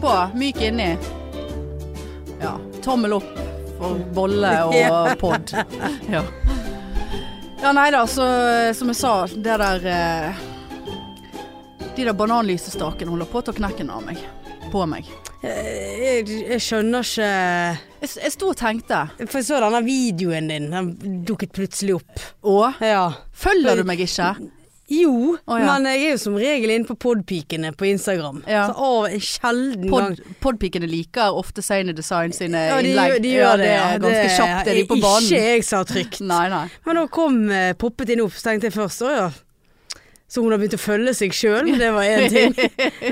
på. Myk inni. Ja. Tommel opp for bolle og pod. Ja. ja, nei da, så eh, som jeg sa, det der eh, De der bananlysestakene holder på å ta knekken av meg. På meg. Eh, Jeg, jeg skjønner ikke Jeg, s- jeg sto og tenkte For jeg så denne videoen din. Den dukket plutselig opp. Å, Ja. følger du meg ikke? Jo, Å, ja. men jeg er jo som regel inne på podpikene på Instagram. Ja. Så av en sjelden gang. Pod, podpikene liker ofte Sane Design sine Ja, de, innlegg. gjør- de gjør det. er ganske Det kjapt er de på Ikke banen. jeg som har trykt. Nei, nei. Men da kom eh, poppet inn opp, så tenkte jeg først å ja. Så hun har begynt å følge seg sjøl, det var én ting.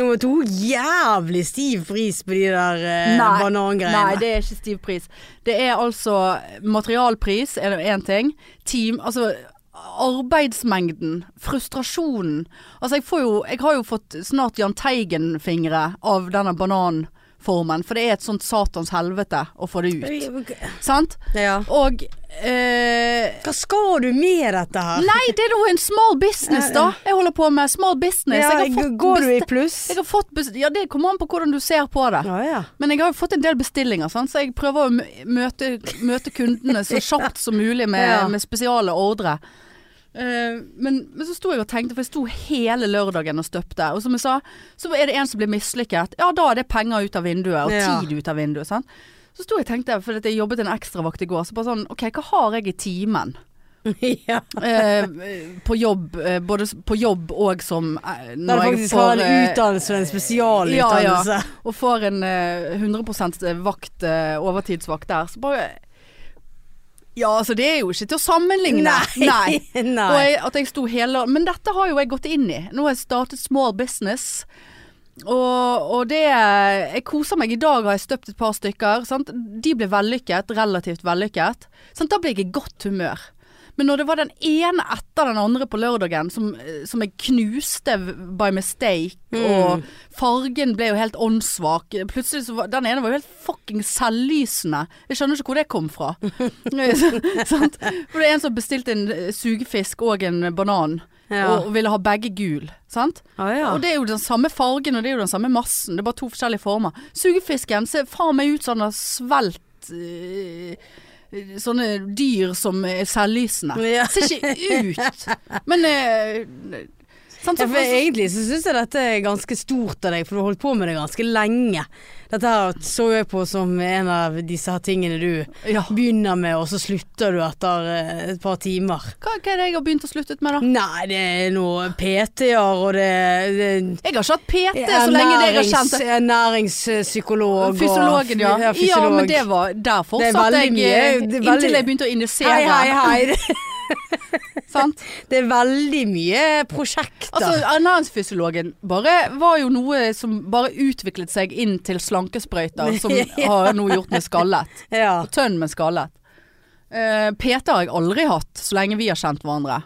Nummer to, jævlig stiv pris på de der eh, Nei, banangreiene. Nei, det er ikke stiv pris. Det er altså materialpris, er det én ting. Team, altså arbeidsmengden, frustrasjonen. Altså jeg får jo, jeg har jo fått snart Jahn Teigen-fingre av denne bananformen, for det er et sånt satans helvete å få det ut. Sant? ja. Og eh, Hva skal du med dette her? Nei, det er jo en small business, da. Jeg holder på med small business. Ja, jeg har fått går du i besti- pluss? jeg har fått besti- ja, det kommer an på hvordan du ser på det. Ja, ja. Men jeg har jo fått en del bestillinger, sant? så jeg prøver å mø- møte, møte kundene så kjapt som mulig med, Ja. med spesiale ordre. Eh, men, men så sto jeg og tenkte, for jeg sto hele lørdagen og støpte. Og som jeg sa, så er det en som blir mislykket. Ja, da er det penger ut av vinduet, og Ja. tid ut av vinduet. Sant? Så sto jeg og tenkte, for at jeg jobbet en ekstravakt i går, så bare sånn OK, hva har jeg i timen? ja. Eh, på jobb, eh, både s- på jobb og som eh, Når du faktisk har en eh, utdannelse, en spesialutdannelse. og får en eh, 100 vakt, eh, overtidsvakt der, så bare Ja, altså det er jo ikke til å sammenligne. Nei. Nei. Og jeg, at jeg sto hele Men dette har jo jeg gått inn i. Nå har jeg startet small business. Og, og det Jeg koser meg. I dag har jeg støpt et par stykker. Sant? De ble vellykket. Relativt vellykket. Sant? Da ble jeg i godt humør. Men når det var den ene etter den andre på lørdagen som, som jeg knuste by mistake, Mm. og fargen ble jo helt åndssvak Plutselig så var Den ene var jo helt fucking selvlysende. Jeg skjønner ikke hvor det kom fra. Sant? For det er en som bestilte en eh, sugefisk og en banan, Ja. og, og ville ha begge gul. Sant? Å, ja. Og det er jo den samme fargen, og det er jo den samme massen. Det er bare to forskjellige former. Sugefisken ser faen meg ut som han har svelt eh, sånne dyr som er selvlysende. Ja. Ser ikke ut. Men eh, sant, Ja, så- for egentlig så syns jeg dette er ganske stort av deg, for du har holdt på med det ganske lenge. Dette her så jeg på som en av disse her tingene du ja. begynner med, og så slutter du etter eh, et par timer. hva, hva er det jeg har begynt å slutte med, da? Nei, det er noe PT-er, og det, det Jeg har ikke hatt PT så lenge det jeg har kjent ernærings- Ernæringspsykolog eh, og Fysiologen, ja. ja, fysiolog. men det var der fortsatt veldig jeg eh, mye- det er veldig- Inntil jeg begynte å injisere. Hei, hei, hei. Sant? Det er veldig mye prosjekter. Altså, Ernæringsfysiologen bare var jo noe som bare utviklet seg inn til slankesprøyter, som har nå gjort meg skallet. ja. Og tønn med skallet. Eh, PT har jeg aldri hatt, så lenge vi har kjent hverandre.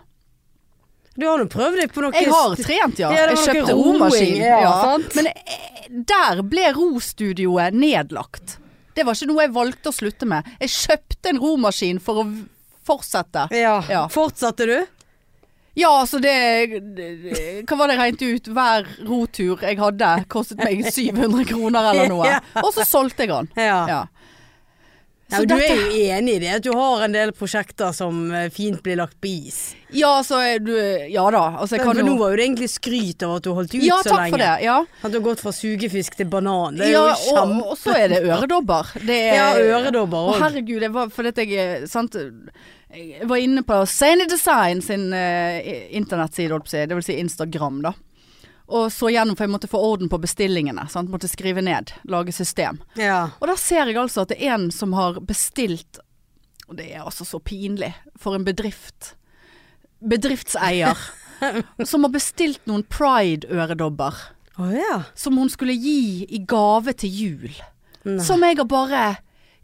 Du har nå prøvd deg på noe Jeg har trent, ja. Ja, det var Jeg noe kjøpte roing, romaskin. ja, Ja. sant? Men eh, der ble rostudioet nedlagt. Det var ikke noe jeg valgte å slutte med. Jeg kjøpte en romaskin for å v- fortsette. ja. Ja. Fortsatte du? Ja, altså det det- Hva var det jeg regnet ut? Hver rotur jeg hadde kostet meg 700 kroner eller noe. Og så solgte jeg den. Ja. Ja. Ja, Så men du dette- er jo enig i det, at du har en del prosjekter som eh, fint blir lagt på is. Ja, så er du Ja da. Altså jeg Men kan for nå jo var jo det egentlig skryt av at du holdt ut Ja, så lenge. takk for det. Ja. At du har gått fra sugefisk til banan. Det er Ja, jo og, kjempe... og så er det øredobber. Det er, Ja, øredobber Å, også. herregud, jeg var, fordi at jeg, eh, sant, jeg var inne på Sane Design sin eh, internettside, holdt på å si, det vil si Instagram, da. Og så gjennom, for jeg måtte få orden på bestillingene. Sant? Måtte skrive ned, lage system. Ja. Og da ser jeg altså at det er en som har bestilt Og det er altså så pinlig for en bedrift. Bedriftseier. som har bestilt noen pride-øredobber. Å ja. Som hun skulle gi i gave til jul. Nei. Som jeg har bare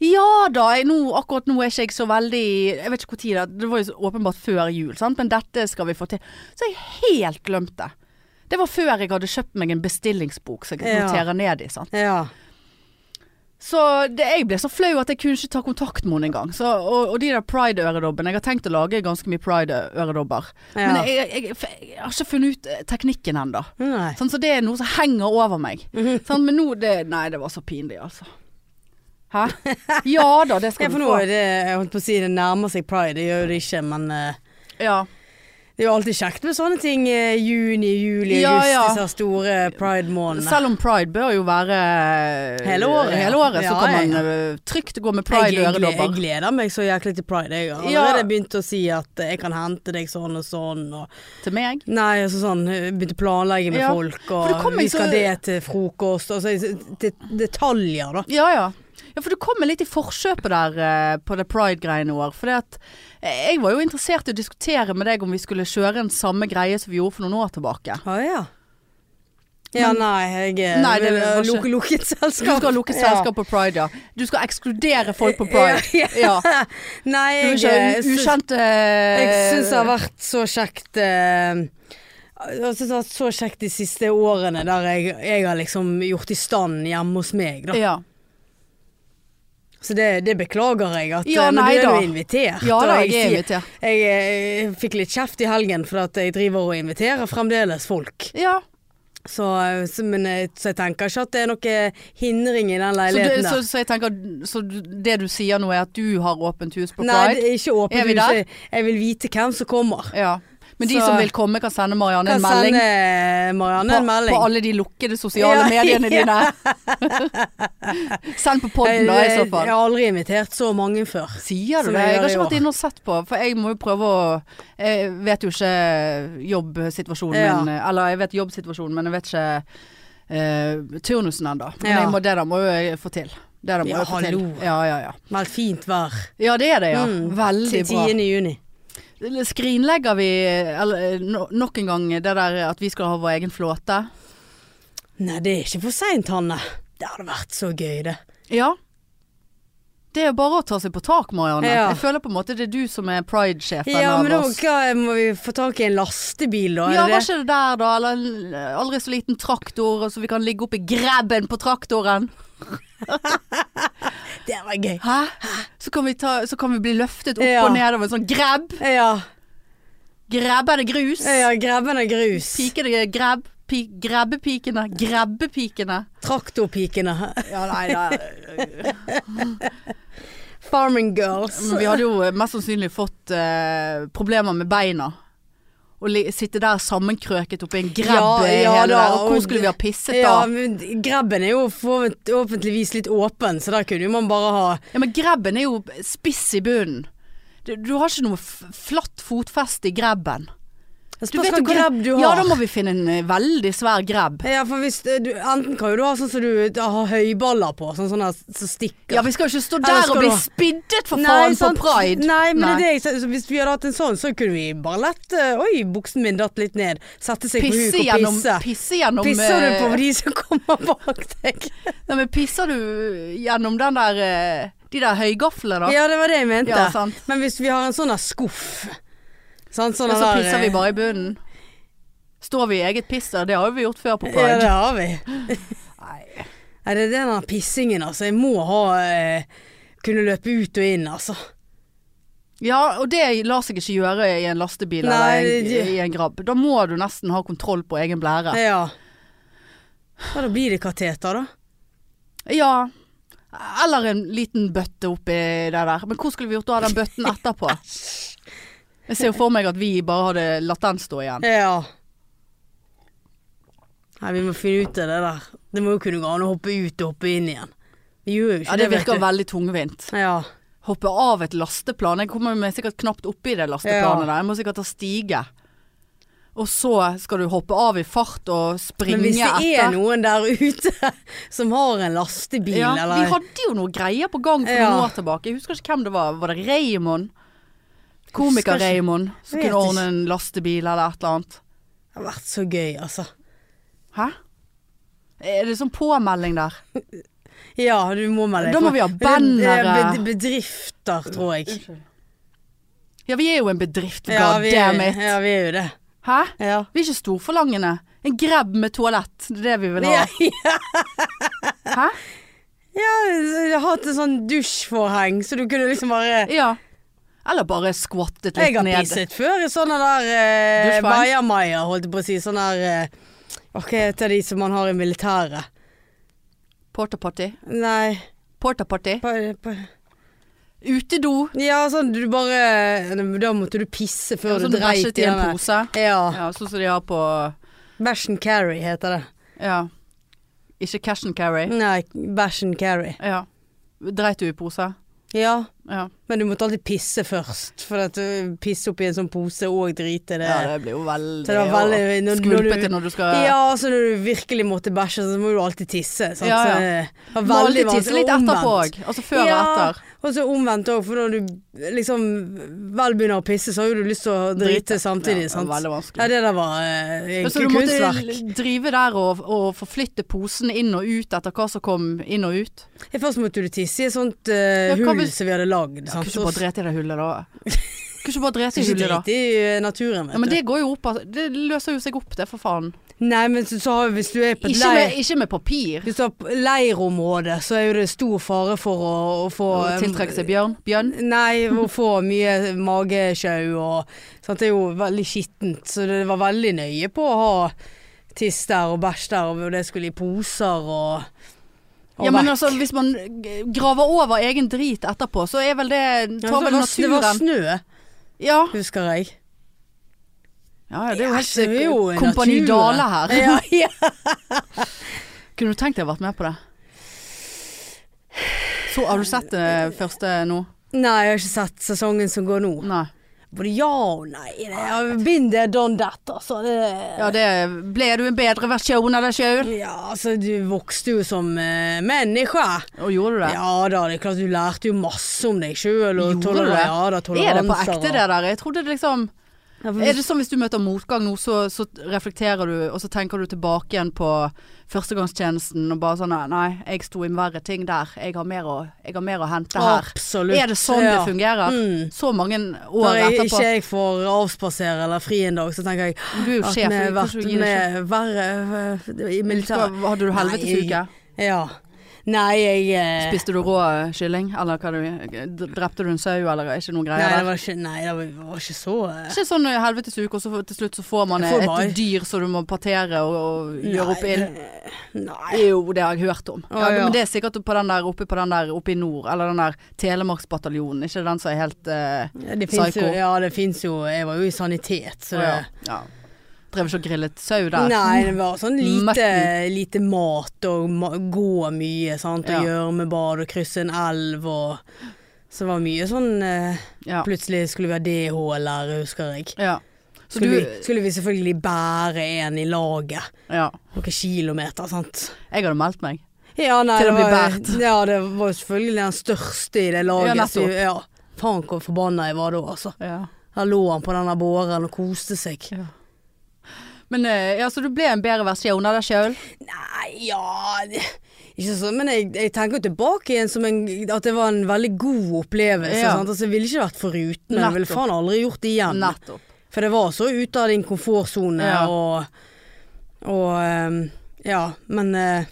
Ja da, jeg, nå, akkurat nå er ikke jeg så veldig Jeg vet ikke når det Det var jo så åpenbart før jul, sant? men dette skal vi få til. Så jeg helt glemte. Det var før jeg hadde kjøpt meg en bestillingsbok som jeg Ja. noterer ned i. Sant? Ja. Så det, jeg ble så flau at jeg kunne ikke ta kontakt med henne engang. Så- Og, og de der pride-øredobbene. Jeg har tenkt å lage ganske mye pride-øredobber. Ja. Men jeg, jeg, jeg, jeg har ikke funnet ut eh, teknikken ennå. Nei. Sånn, så det er noe som henger over meg. Sånn, men nå det, Nei, det var så pinlig, altså. Hæ? Ja da, det Ja, skal for du nå få. er det Jeg holdt på å si det nærmer seg pride, det gjør jo det ikke, men eh, Ja. det er jo alltid kjekt med sånne ting. eh, juni, juli, Ja, august, ja. disse store pride-månedene. Selv om pride bør jo være eh, Hele året, ja. hele året så Ja, kan ja, man eh, trygt gå Jeg, med jeg, gle- jeg pride-øredobber. gleder meg så jæklig til pride. Jeg har Ja. allerede begynt å si at eh, jeg kan hente deg sånn og sånn. Og, Til meg. Nei, altså sånn, jeg begynte å planlegge med Ja, folk, for det og kommer vi ikke skal så- det til frokost, og så det, detaljer da. Ja, ja. Ja, for du kom med litt i forkjøpet der eh, på det pride-greiene vår. For at eh, jeg var jo interessert i å diskutere med deg om vi skulle kjøre en samme greie som vi gjorde for noen år tilbake. Å ja. Ja, nei, jeg eh, Nei, det vil ha var ikke- lukke, lukket Du selskap. skal lukke selskap på pride, ja. Du skal ekskludere folk på pride. Ja. Ja. ja. Nei, Du er jeg, ikke jeg, en ukjent eh, jeg syns det har vært så kjekt eh, jeg synes det har vært så kjekt de siste årene der jeg, jeg har liksom gjort i stand hjemme hos meg, da. ja. Så det, det beklager jeg at Ja, eh, Men nei du er da. jo invitert. ja og da, jeg er sier- invitert. Jeg eh, fikk litt kjeft i helgen for at jeg driver og inviterer fremdeles folk. Ja. Så, eh, så, men, jeg- så jeg tenker ikke at det er noe hindring i den Så, du, leiligheten så, der. så jeg tenker Så du- det du sier nå er at du har åpent hus på Nei, pride? det er ikke åpent. Er vi hus. der? Jeg- Jeg vil vite hvem som kommer. Ja. Men de Så- som vil komme kan sende Marianne Kan en melding, sende Marianne på, en melding. på alle de lukkede sosiale Ja, mediene ja. dine. Send på podden da, i så fall. Jeg har aldri invitert så mange før. Sier du Som det? jeg Jeg har gjør i ikke år. vært inne og sett på, for jeg må jo prøve å Jeg vet jo ikke jobbsituasjonen Ja. min, eller jeg vet jobbsituasjonen, men jeg vet ikke eh, turnusen ennå. Men Ja. jeg må, det der må jo jeg få til. Det der må Ja, jeg få til. hallo. Ja, ja, ja. Meldt fint vær ja, det er det, ja. Mm, Veldig til bra. 10. juni. Skrinlegger vi eller, no, nok en gang det der at vi skal ha vår egen flåte? Nei, det er ikke for seint, Hanne. Det hadde vært så gøy, det. Ja. Det er jo bare å ta seg på tak, Marianne. Ja. Jeg føler på en måte det er du som er pride-sjefen Ja, av men da oss. hva, må vi få tak i en lastebil, da? Er Ja, det det? var ikke det der da? Eller en aldri så liten traktor, og så vi kan ligge oppi grabben på traktoren. det var gøy. Hæ? Så kan vi, ta, så kan vi bli løftet opp Ja. og ned av en sånn grabb. Ja. Grabbende grus. Ja, grabben er grus. Pikene grabb. Pi, grabbepikene. Grabbepikene. Traktorpikene. Ja, nei, det Farming girls. Men vi hadde jo mest sannsynlig fått eh, problemer med beina. Å li- sitte der sammenkrøket oppi en grabb Ja, eh, ja hele da, Og hvor og- skulle vi ha pisset Ja, da? men grabben er jo forhåpentligvis litt åpen, så der kunne jo man bare ha Ja, men grabben er jo spiss i bunnen. Du, du har ikke noe f flatt fotfeste i grabben. Jeg Du spørs vet hva jo hva- grabb du har. Ja, da må vi finne en eh, veldig svær grabb. Ja, for hvis eh, du, Enten kan jo du ha sånn som du da har høyballer på, sånn sånn her som stikker. Ja, vi skal jo ikke stå Eller der skal og du bli ha- spiddet for faen på sant. pride. Nei, men Det Nei. er det jeg, sa- så hvis vi hadde hatt en sånn, så kunne vi bare lett eh, Oi, buksen min datt litt ned. Sette seg på huk Pisse og gjennom, pisse. pisse gjennom Pisser du eh, på de som kommer bak deg? Nei, men pisser du gjennom den der eh, De der høygaflene, da? Ja, det var det jeg mente. Ja, sant. Men hvis vi har en sånn her skuff sant, sånn Og så her, pisser vi eh, bare i bunnen. Står vi i eget piss der? Det har jo vi gjort før på Ja, det Pride. har vi. Nei, det er den der pissingen, altså. Jeg må ha eh, Kunne løpe ut og inn, altså. Ja, og det lar seg ikke gjøre i en lastebil Nei, eller i en, det- i en grabb. Da må du nesten ha kontroll på egen blære. Ja. ja da blir det kateter, da. Ja. Eller en liten bøtte oppi det der. Men hvor skulle vi gjort av den bøtten etterpå? Jeg ser jo for meg at vi bare hadde latt den stå igjen. Ja. Nei, vi må finne ut av det der. Det må jo kunne gå an å hoppe ut og hoppe inn igjen. Vi gjør jo ikke Ja, Det vet virker du. veldig tungvint. Ja. Hoppe av et lasteplan. Jeg kommer meg sikkert knapt oppi det lasteplanet der. Jeg må sikkert ta stige. Og så skal du hoppe av i fart og springe Men hvis det etter. er noen der ute som har en lastebil ja, eller Vi hadde jo noe greier på gang for Ja. noen år tilbake. Jeg husker ikke hvem det var. Var det Raymond? Komiker Husker ikke. Raymond som Vet kunne ordne ikke. en lastebil eller et eller annet. Det har vært så gøy, altså. Hæ? Er det sånn påmelding der? Ja, du må melde deg Da må på. vi ha Men det er bannere. bed- Bedrifter, tror jeg. Ja, vi er jo en bedrift, Ja, god vi er, damn it. ja, vi er jo det. Hæ? Ja. Vi er ikke storforlangende. En grabb med toalett, det er det vi vil ha. Ja, Hæ? Ja, jeg har hatt en sånn dusjforheng, så du kunne liksom bare Ja. Eller bare skvattet Jeg litt har ned. pisset før i sånne der eh, Dusjforheng? Bayamaya, holdt jeg på å si. Sånne der eh, Hva heter de som man har i militæret? Porta potty. Nei Porta potty. pa, pa. Utedo. Ja, sånn du bare Da måtte du pisse før Sånn du dreit bæsjet i en denne. pose. Ja. Ja, sånn som de har på Bash and carry heter det. Ja. Ikke cash and carry. Nei, bash and carry. Ja. Dreit du i pose? Ja. Ja. Men du måtte alltid pisse først, for at du pisse oppi en sånn pose og drite det. ja. Det blir jo veldig, Så det var veldig- når- når du- skvulpete når du skal Ja, så når du virkelig måtte bæsje, så må du alltid tisse. Sant? Ja, ja. Så eh, det var Må veldig alltid tisse vanskelig. litt Og etterpå omvendt. òg. Altså før Ja, og etter. Og så omvendt òg, for når du liksom vel begynner å pisse, så har jo du lyst til å drite samtidig. Ja, sant? Veldig vanskelig. Ja, det der var eh, Men så du egentlig måtte kunstverk. l- drive der og, og forflytte posen inn og ut etter hva som kom inn og ut? Først måtte du tisse i et sånt eh, Ja, hva hull hvis- som vi hadde lagd. Kunne sant? ikke bare drete i det hullet da? Kunne ikke bare drete Så i ikke hullet da? drite i eh, naturen, Ja, vet men det går jo opp altså. Det løser jo seg opp, det, for faen. du. Nei, men så, så har- hvis du er på et Ikke leir med, ikke med papir. Hvis du har p- leirområde, så er jo det stor fare for å, å få Og tiltrekke seg bjørn. Bjørn. Nei, å få mye magesjau og sant? Det er jo veldig skittent, så det var veldig nøye på å ha tiss der og bæsj der, og det skulle i poser og, og Ja, men vekk. altså, hvis man g- graver over egen drit etterpå, så er vel det Ja, Tar så vel det, var, det var naturen snø, Ja. husker jeg. ja, ja, det er jo Ja, helt det er jo eh, Kompani naturen. Dale her. Ja, ja. Kunne du tenkt deg å vært med på det? Så har du sett det første nå? Nei, jeg har ikke sett sesongen som går nå. Nei. Både ja og nei. Det har been there, done that, altså. Det, Ja, det Ble du en bedre versjon av deg sjøl? ja, altså, du vokste jo som eh, menneske. Og gjorde du det? Ja da, det er klart du lærte jo masse om deg sjøl. Gjorde du det? Ja, da, er det på toleranser ekte og- det der? Jeg trodde det liksom Ja, for- Er det sånn hvis du møter motgang nå, så, så reflekterer du, og så tenker du tilbake igjen på førstegangstjenesten og bare sånn Nei, jeg sto i verre ting der. Jeg har mer å, jeg har mer å hente her. Absolutt. Er sånn det sånn Ja. det fungerer? Mm. Så mange Når år jeg, etterpå. ikke jeg får avspasere eller fri en dag, så tenker jeg Du er jo at vi har sjef. hvorfor vært skulle du gi det med verre øh, i sjef? militæret. Hadde du helvetesuke? Ja. Nei, jeg eh, Spiste du rå eh, kylling? Eller hva du Drepte du en sau, eller er ikke noe Nei, greier det der? var ikke, nei, det var- det var ikke så eh. Ikke sånn eh, helvetesuke, og så får- til slutt så får man Jeg eh, får et bare- dyr som du må partere og, og gjøre opp ild. eh, Nei. Jo, det har jeg hørt om. Å, ja, ja. Men det er sikkert på den der oppe, på den der, oppe i nord, eller den der Telemarksbataljonen. Ikke den som er helt eh, Ja, Det fins jo, Psycho. ja, det finnes jo Jeg var jo i sanitet, så å, ja. det ja. Drev ikke og grillet sau der. Nei, det var sånn lite, Mutton. lite mat og ma gå mye, sant. Ja. Og gjørmebad og krysse en elv og Så det var mye sånn eh, Ja. Plutselig skulle vi ha DH-lærer, husker jeg. Ja. Så Skulle, du vi, skulle vi selvfølgelig bære en i laget. Ja. Noen kilometer, sant. Jeg hadde meldt meg. Ja, nei, Til det å bli var- bært. Ja, det var jo selvfølgelig den største i det laget. Ja, nettopp. så- ja. Faen hvor forbanna jeg var da, altså. Ja. Der lå han på denne båren og koste seg. Men eh, ja, så du ble en bedre versjon av deg sjøl? Nei, ja det- Ikke sånn, men jeg, jeg tenker jo tilbake igjen som en, at det var en veldig god opplevelse. Ja. Sant? Altså, jeg ville ikke vært foruten, men jeg ville Nettopp. faen aldri gjort det igjen. Nettopp. For det var så ute av din komfortsone Ja. og, og ehm, Ja, men eh,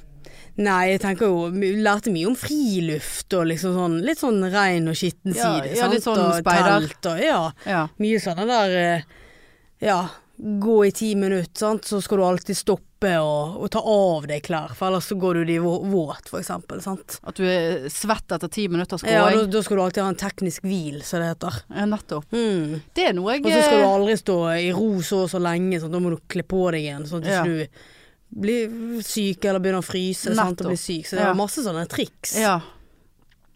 Nei, jeg tenker jo my- Lærte mye om friluft og liksom sånn Litt sånn rein og skitten Ja, side. ja, litt sånn og speider. telt og Ja. Ja. Mye sånne der eh, Ja, gå i ti minutter, sant? så skal du alltid stoppe og, og ta av deg klær, for ellers så går du de vå- våt, for eksempel. Sant? At du er svett etter ti minutters Ja, da, gåing. da skal du alltid ha en teknisk hvil, som det heter. Ja, nettopp. Mm. Det er noe jeg Og så skal du eh, aldri stå i ro så og så lenge, sant? da må du kle på deg igjen, sånn at Ja. ikke du blir syk eller begynner å fryse sant? og Nettopp. blir syk. Så det Ja. er masse sånne triks. eh, Ja.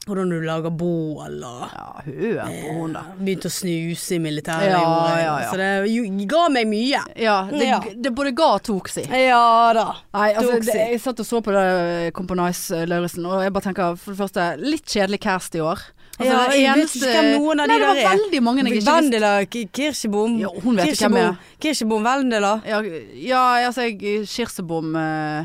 Hvordan du lager bål og ja, hør på hun da. Begynte å snuse i militæret. Ja, gjorde jeg. ja, ja. Så det jo- ga meg mye. Ja, det, Ja. det både ga og tok, si. Ja da. Nei, altså, Doxy. det, jeg satt og så på det Componize Lauritzen, og jeg bare tenker for det første litt kjedelig cast i år. Altså, Ja, den jeg vet ikke hvem noen av de Nei, det der var er. veldig mange jeg ikke visste. Vendela K- Kirsebom. Ja, hun vet ikke hvem jeg er. Kirsebom Vendela. Ja, ja, altså jeg Kirsebom eh,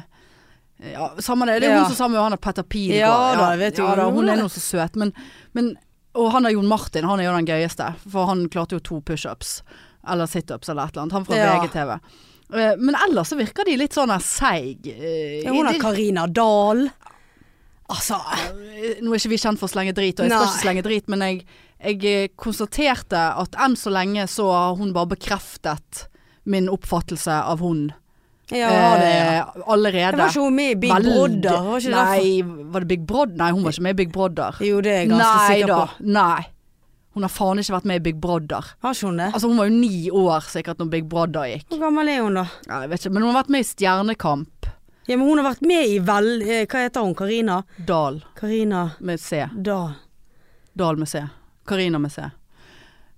ja, Samme det. Det er Ja. hun som sammen med han der Petter Pilgaard. Ja da, jeg vet jo ja, da, hun hun er. er nå så søt. Men, men, og han der Jon Martin, han er jo den gøyeste. For han klarte jo to pushups. Eller situps eller et eller annet. Han fra Ja. VGTV. Eh, Men ellers så virker de litt sånn her seig. eh, Ja, hun har de- Karina Dahl. Altså eh, Nå er ikke vi kjent for å slenge drit, og jeg skal Nei. ikke slenge drit, men jeg, jeg eh, konstaterte at enn så lenge så har hun bare bekreftet min oppfattelse av hun Ja, det, ja. eh, allerede. Det var ikke hun med i Big Veldig- Brother? Var ikke det Nei, var det Big Brother? Nei, hun var ikke med i Big Brother. derfor? Jo, det er jeg ganske Nei sikker da, på. nei. Hun har faen ikke vært med i Big Brother. Har ikke hun det? Altså hun var jo ni år sikkert når Big Brother gikk. Hvor gammel er hun da? Ja, jeg vet ikke, men hun har vært med i Stjernekamp. Ja, men hun har vært med i vel... eh, Hva heter hun? Karina? Dal Karina med C. Dahl. Dahl med C. Karina med C.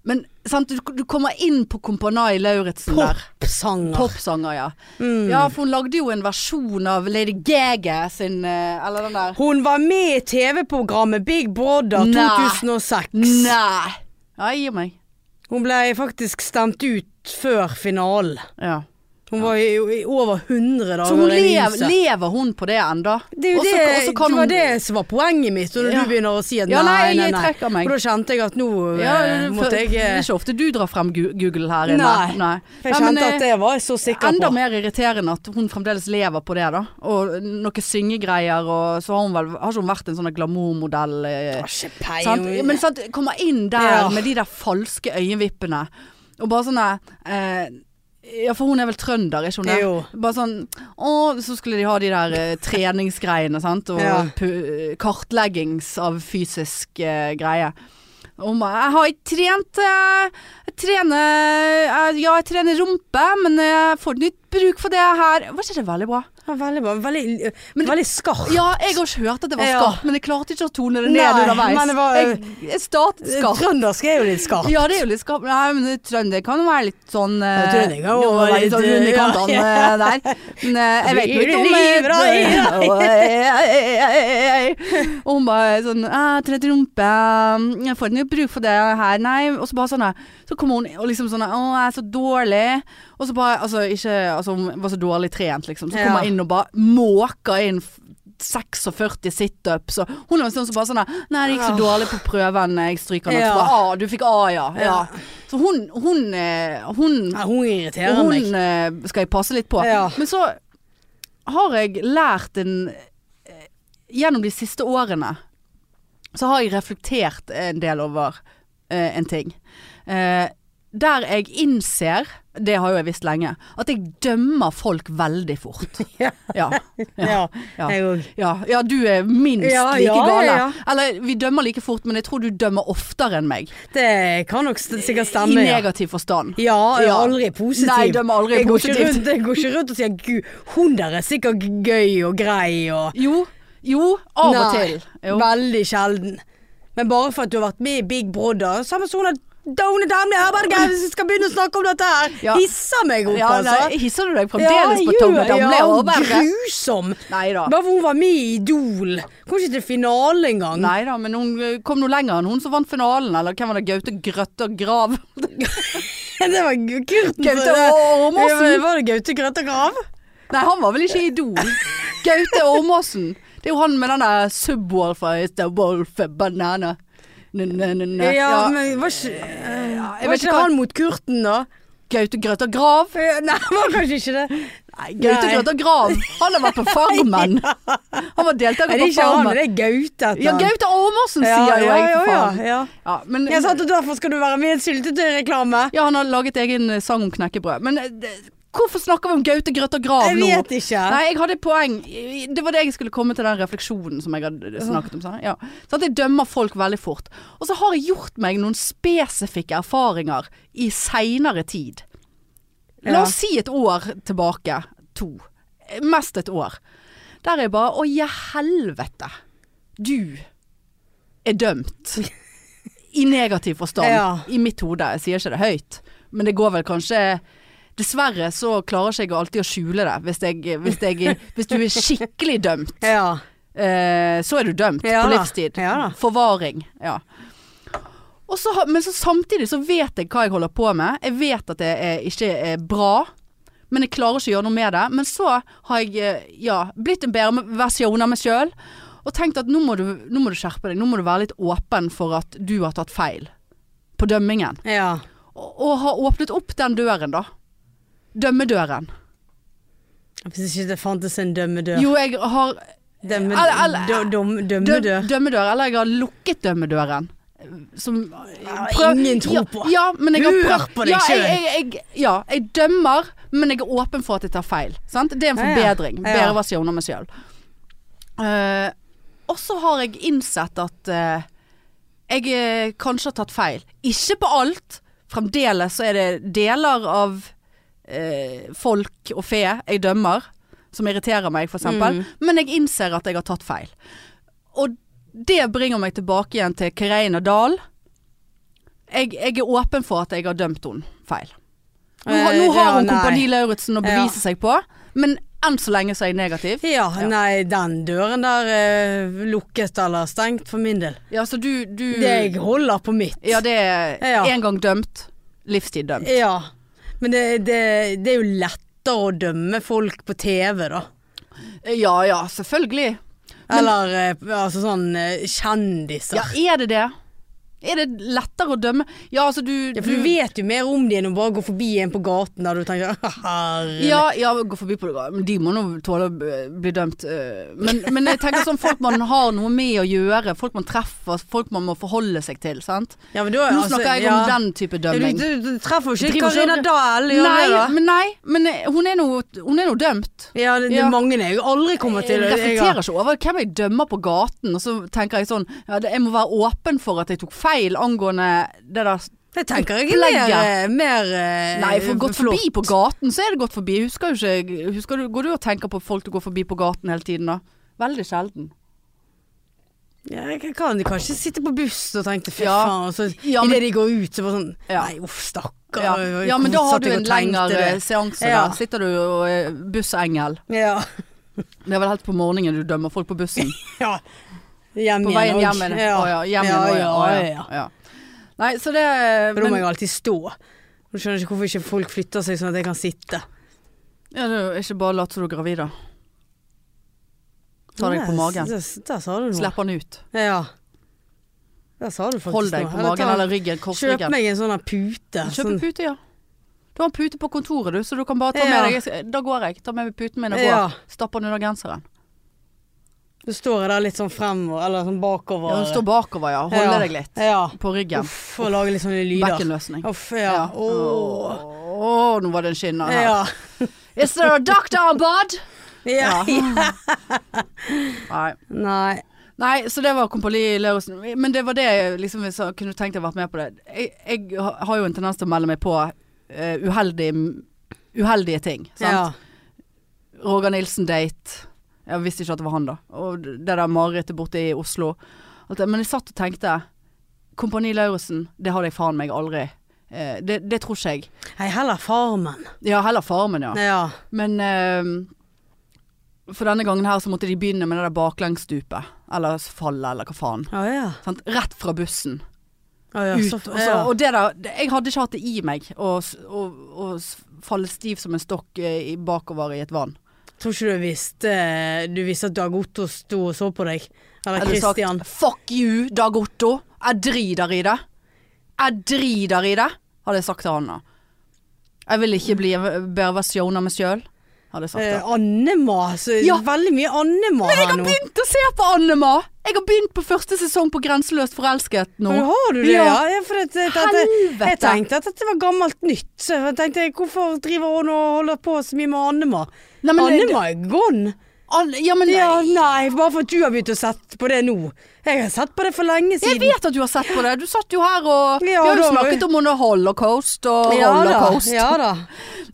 Men sant, du, du kommer inn på Kompanai Lauritzen der. Popsanger. Popsanger, ja. Mm. Ja, for hun lagde jo en versjon av Lady Gaga sin eh, Eller den der. Hun var med i TV-programmet Big Brother Nei. 2006. Nei! Ja, jeg gir meg. Hun ble faktisk stemt ut før finalen. Ja. Hun var i, i over 100 dager Så hun i lev, huset. lever hun på det ennå? Det, er jo det, det var det som var poenget mitt, og når Ja. du begynner å si at Ja, nei, nei, nei, jeg nei. trekker meg. Og da kjente jeg at nå eh, ja, for, måtte jeg Det eh, er ikke ofte du drar frem Gu- Google her inne. Nei, for Jeg Nei, men, kjente eh, at det var jeg så sikker Enda på. mer irriterende at hun fremdeles lever på det, da. Og noen syngegreier, og så har hun vel Har ikke hun vært en sånn glamourmodell? eh, Har ikke peiling. sant? Men sant, kommer inn der Ja. med de der falske øyenvippene, og bare sånne eh, ja, for hun er vel trønder, ikke hun det? Jo. Bare sånn Å, så skulle de ha de der eh, treningsgreiene, sant. Og Ja. pu- kartleggings av fysisk eh, greie. Og hun bare Jeg har ikke trent eh, Jeg trener eh, Ja, jeg trener rumpe, men jeg får ikke bruk for det her. Var ikke det veldig bra? Ja, veldig bra. Veldig, eh, Men- veldig skarp. Ja, jeg har ikke hørt at det var Ja. skarpt, men jeg klarte ikke å tone det ned Nei, underveis. men det var- jeg, jeg startet skarpt. Trøndersk er jo litt skarp. Ja, det er jo litt skarpt. Nei, men det- trønder kan jo være litt sånn eh, Ja, trønder kan jo jo, være være litt, litt sånn eh, hund i kantene eh, der. Men eh, jeg vet Blir ikke du om eh, livredd? det- Og hun bare sånn «Ah, 'Trent rumpe, mm, jeg får ikke bruk for det her, nei.' Og så bare sånn eh, Så kommer hun og liksom sånn 'Å, jeg er så dårlig'. Og så bare Altså, ikke Altså, hun var så dårlig trent, liksom. Så kommer Ja. hun inn og bare måker inn f- 46 situps, og hun er en sånn som bare sånn der, 'Nei, det gikk så Åh. dårlig på prøven, jeg stryker den.' Ja. Så bare 'A, du fikk A, ja'. ja. Ja. Så hun, hun, eh, hun Ja, hun og irriterer meg. hun eh, skal jeg passe litt på. Ja. Men så har jeg lært en eh, Gjennom de siste årene så har jeg reflektert en del over eh, en ting. Eh, der jeg innser, det har jo jeg visst lenge, at jeg dømmer folk veldig fort. Ja. Ja, Ja, ja. jeg òg. ja, ja du er minst Ja, like ja, ja, gale. ja. Eller vi dømmer like fort, men jeg tror du dømmer oftere enn meg. Det kan nok st- sikkert I stemme. ja. negativ forstand. Ja, jeg er Ja. aldri positiv. Nei, de er aldri jeg Går positivt. ikke rundt, jeg går ikke rundt og sier gud, hun der er sikkert g- gøy og grei og Jo, jo, av Nei, og til. Jo. Veldig sjelden. Men bare for at du har vært med i Big Brother, samme som hun er Downe Damle Herberge, hvis vi skal begynne å snakke om dette her. Ja. Hisser meg opp, Ja, nei, altså. hisser du deg fremdeles på Tone Damli ja, og Berre? grusom. Nei da. Bare for hun var med i Idol. Kom ikke til finale engang. Nei da, men hun eh, kom nå lenger enn hun som vant finalen, eller hvem var det? Gaute Grøtte og Grav? det var gu- Kurten. Gaute som- Ormåsen? Var det Gaute Grøtta Grav? Nei, han var vel ikke i Idol. Gaute Ormåsen. Det er jo han med den der subwoolfa is the wolf a banana. Ne, ne, ne, ne. Ja, Ja, men var ikke, eh, jeg var vet ikke ikke hva- han mot Kurten, da? Gaute Grøtte og Grav? Eh, Nei, det var kanskje ikke det. Nei, Gaute Nei. Grøtte og Grav. Han har vært på Farmen. Han var Nei, deltaker det er på ikke han, Farmen. det er Gaute. et eller Ja, annet. Gaute Ormåsen Ja, sier jo ja, jeg, ja, for faen. Ja, ja. Ja, men Jeg sa at derfor skal du være med i en syltetøyreklame. Ja, han har laget egen eh, sang om knekkebrød. Men eh, det- hvorfor snakker vi om Gaute Grøtt og Grav Jeg nå? vet ikke. Nei, jeg hadde et poeng. Det var det jeg skulle komme til den refleksjonen som jeg hadde eh, snakket om. sant? Ja. Sånn at jeg dømmer folk veldig fort. Og så har jeg gjort meg noen spesifikke erfaringer i seinere tid. La Ja. oss si et år tilbake. To. Eh, Mest et år. Der er jeg bare Å, ja helvete. Du er dømt. I negativ forstand. Ja. I mitt hode. Jeg sier ikke det høyt, men det går vel kanskje Dessverre så klarer ikke jeg alltid å skjule det. Hvis, jeg, hvis, jeg, hvis du er skikkelig dømt, Ja. eh, så er du dømt Ja på da. livstid. Ja da. Forvaring. Ja. Og så, har- men så samtidig så vet jeg hva jeg holder på med. Jeg vet at det er, ikke er bra, men jeg klarer ikke å gjøre noe med det. Men så har jeg eh, ja, blitt en bedre versjon av meg sjøl og tenkt at nå må, du, nå må du skjerpe deg. Nå må du være litt åpen for at du har tatt feil på dømmingen. ja. Og, og har åpnet opp den døren, da. Dømmedøren. Hvis ikke det fantes en dømmedør. Jo, jeg har Dømme, Eller- eller- dø, døm, Dø- dømmedør. Dømmedør. Eller jeg har lukket dømmedøren. Som eh, Ja, prøv- ingen tror ja, på. Ja, men jeg har Hør prøvd- på deg ja, jeg- selv. jeg- jeg- Ja, jeg dømmer, men jeg er åpen for at jeg tar feil. Sant? Det er en Ja, ja. forbedring. Ja, ja. Bedre versjon av meg sjøl. Eh, og så har jeg innsett at eh, jeg eh, kanskje har tatt feil. Ikke på alt. Fremdeles så er det deler av eh, folk og fe jeg dømmer, som irriterer meg, for eksempel. Mm. Men jeg innser at jeg har tatt feil. Og det bringer meg tilbake igjen til Kereina Dahl. Jeg, jeg er åpen for at jeg har dømt henne feil. Nå, har- nå Eh, har ja, hun nei. Kompani Lauritzen å Ja. bevise seg på, men enn så lenge så er jeg negativ. Ja, Ja. nei, den døren der eh, lukket eller stengt for min del. Ja, så du, du Det jeg holder på mitt. Mm. Ja, det er Ja. en gang dømt, livstid dømt. Ja, men det, det, det er jo lettere å dømme folk på TV, da. Ja ja, selvfølgelig. Eller eh, altså sånn eh, kjendiser. Ja, Ja, er det det? Er det lettere å dømme? Ja, altså du for du vet jo mer om de enn å bare gå forbi en på gaten der du tenker herregud. Ja, ja, gå forbi på det. Men de må nå tåle å b- bli dømt. øh, Men, men jeg tenker sånn folk man har noe med å gjøre, folk man treffer, folk man må forholde seg til. sant? Ja, men da, Nå altså, snakker jeg ja. om den type Ja, dømming. du, du, du treffer jo Du ikke driver Karina ikke- Dahl, gjør du det? Nei, da? men nei, men eh, hun er nå hun er nå dømt. Ja, det, det Ja. er mange jeg aldri kommer Jeg til. Jeg reflekterer har- ikke over hvem jeg dømmer på gaten, og så tenker jeg sånn ja, det, Jeg må være åpen for at jeg tok feil angående det der Jeg tenker ikke mer, eh, mer eh, Nei, for gått flott. forbi på gaten, så er det gått forbi. Husker jo ikke husker du, Går du og tenker på folk du går forbi på gaten hele tiden, da? Veldig sjelden. Ja, jeg kan kanskje sitte på bussen og tenke fy Ja. faen, og så Ja, men- idet de går ut så bare sånn Ja. Nei, uff, stakkar. Ja, jeg ja men da satt har du jeg en og tenkte lengre det. seanse Ja. der. Sitter du og er bussengel. Ja. Det er vel helt på morgenen du dømmer folk på bussen. ja. Hjem På veien og- hjem igjen. Ja. Å ja, hjem ja, igjen. å ja, å ja, ja. ja. Nei, så det eh, For da må men, jeg alltid stå. Du skjønner ikke hvorfor ikke folk flytter seg sånn at jeg kan sitte. ja, du, Ikke bare lat som du er gravid, da. Ta deg på Nei, magen. Der, der sa du noe. Slipp han ut. Ja. Der sa du faktisk Hold deg på noe. magen ta- eller ryggen. Kjøp Korsryggen. meg en sånn her pute. Kjøp en sånn- pute, ja. Du har en pute på kontoret, du, så du kan bare ta Ja. med deg jeg skal- Da går jeg. Ta med meg puten min og går. Ja. Stapp den under genseren. Du står jeg der litt sånn fremover, eller sånn bakover. Ja, du står bakover, ja. Holde Ja. deg litt. Ja. På ryggen. Uff, og lager litt sånne lyder. Bekkenløsning. Uff, ja. Åh. Åh, nå var det en skinner her. Ja. Is there a doctor on board? Ja. Nei. Nei. Nei, så det var Kompani Lauritzen. Men det var det jeg liksom, hvis jeg kunne tenkt jeg vært med på det. Jeg, jeg ha- har jo en tendens til å melde meg på eh, uheldig, uheldige ting. Sant? Ja. Roger Nilsen-date. Jeg visste ikke at det var han, da. Og det der marerittet borte i Oslo. Alt det. Men jeg satt og tenkte Kompani Lauritzen, det hadde jeg faen meg aldri. Eh, det, det tror ikke jeg. Nei, heller Farmen. Ja, heller Farmen, ja. Ja. Men eh, for denne gangen her så måtte de begynne med det der baklengsstupet. Eller fallet, eller hva faen. Å ja. Sant? Rett fra bussen. Å ja. Ut. så- Og, så, ja. og det der det- Jeg hadde ikke hatt det i meg å s- å å s- falle stiv som en stokk eh, i- bakover i et vann. Tror ikke du visste Du visste at Dag Otto sto og så på deg? Eller Eller sagt Christian? Fuck you, Dag Otto. Jeg driter i det. Jeg driter i det, hadde jeg sagt til han da. Jeg vil ikke bli en bedre versjon av meg sjøl, hadde jeg sagt. Eh, da. Annema. Så Ja. Veldig mye Annema Jeg her har nå. begynt å se på Annema! Jeg har begynt på første sesong på Grenseløst forelsket nå. Men Har du det, ja? Ja. ja for det, det, det, Helvete! jeg tenkte at dette var gammelt nytt. Så jeg tenkte hvorfor driver hun og holder på så mye med Annema? Nei, men- Annema er gone. Anne, ja, men Ja, nei, bare for at du har begynt å sette på det nå. Jeg har sett på det for lenge Jeg siden. vet at du har sett på det. Du satt jo her og Vi Ja, har jo da var snakket om under holocaust og ja, holocaust. Da, ja da.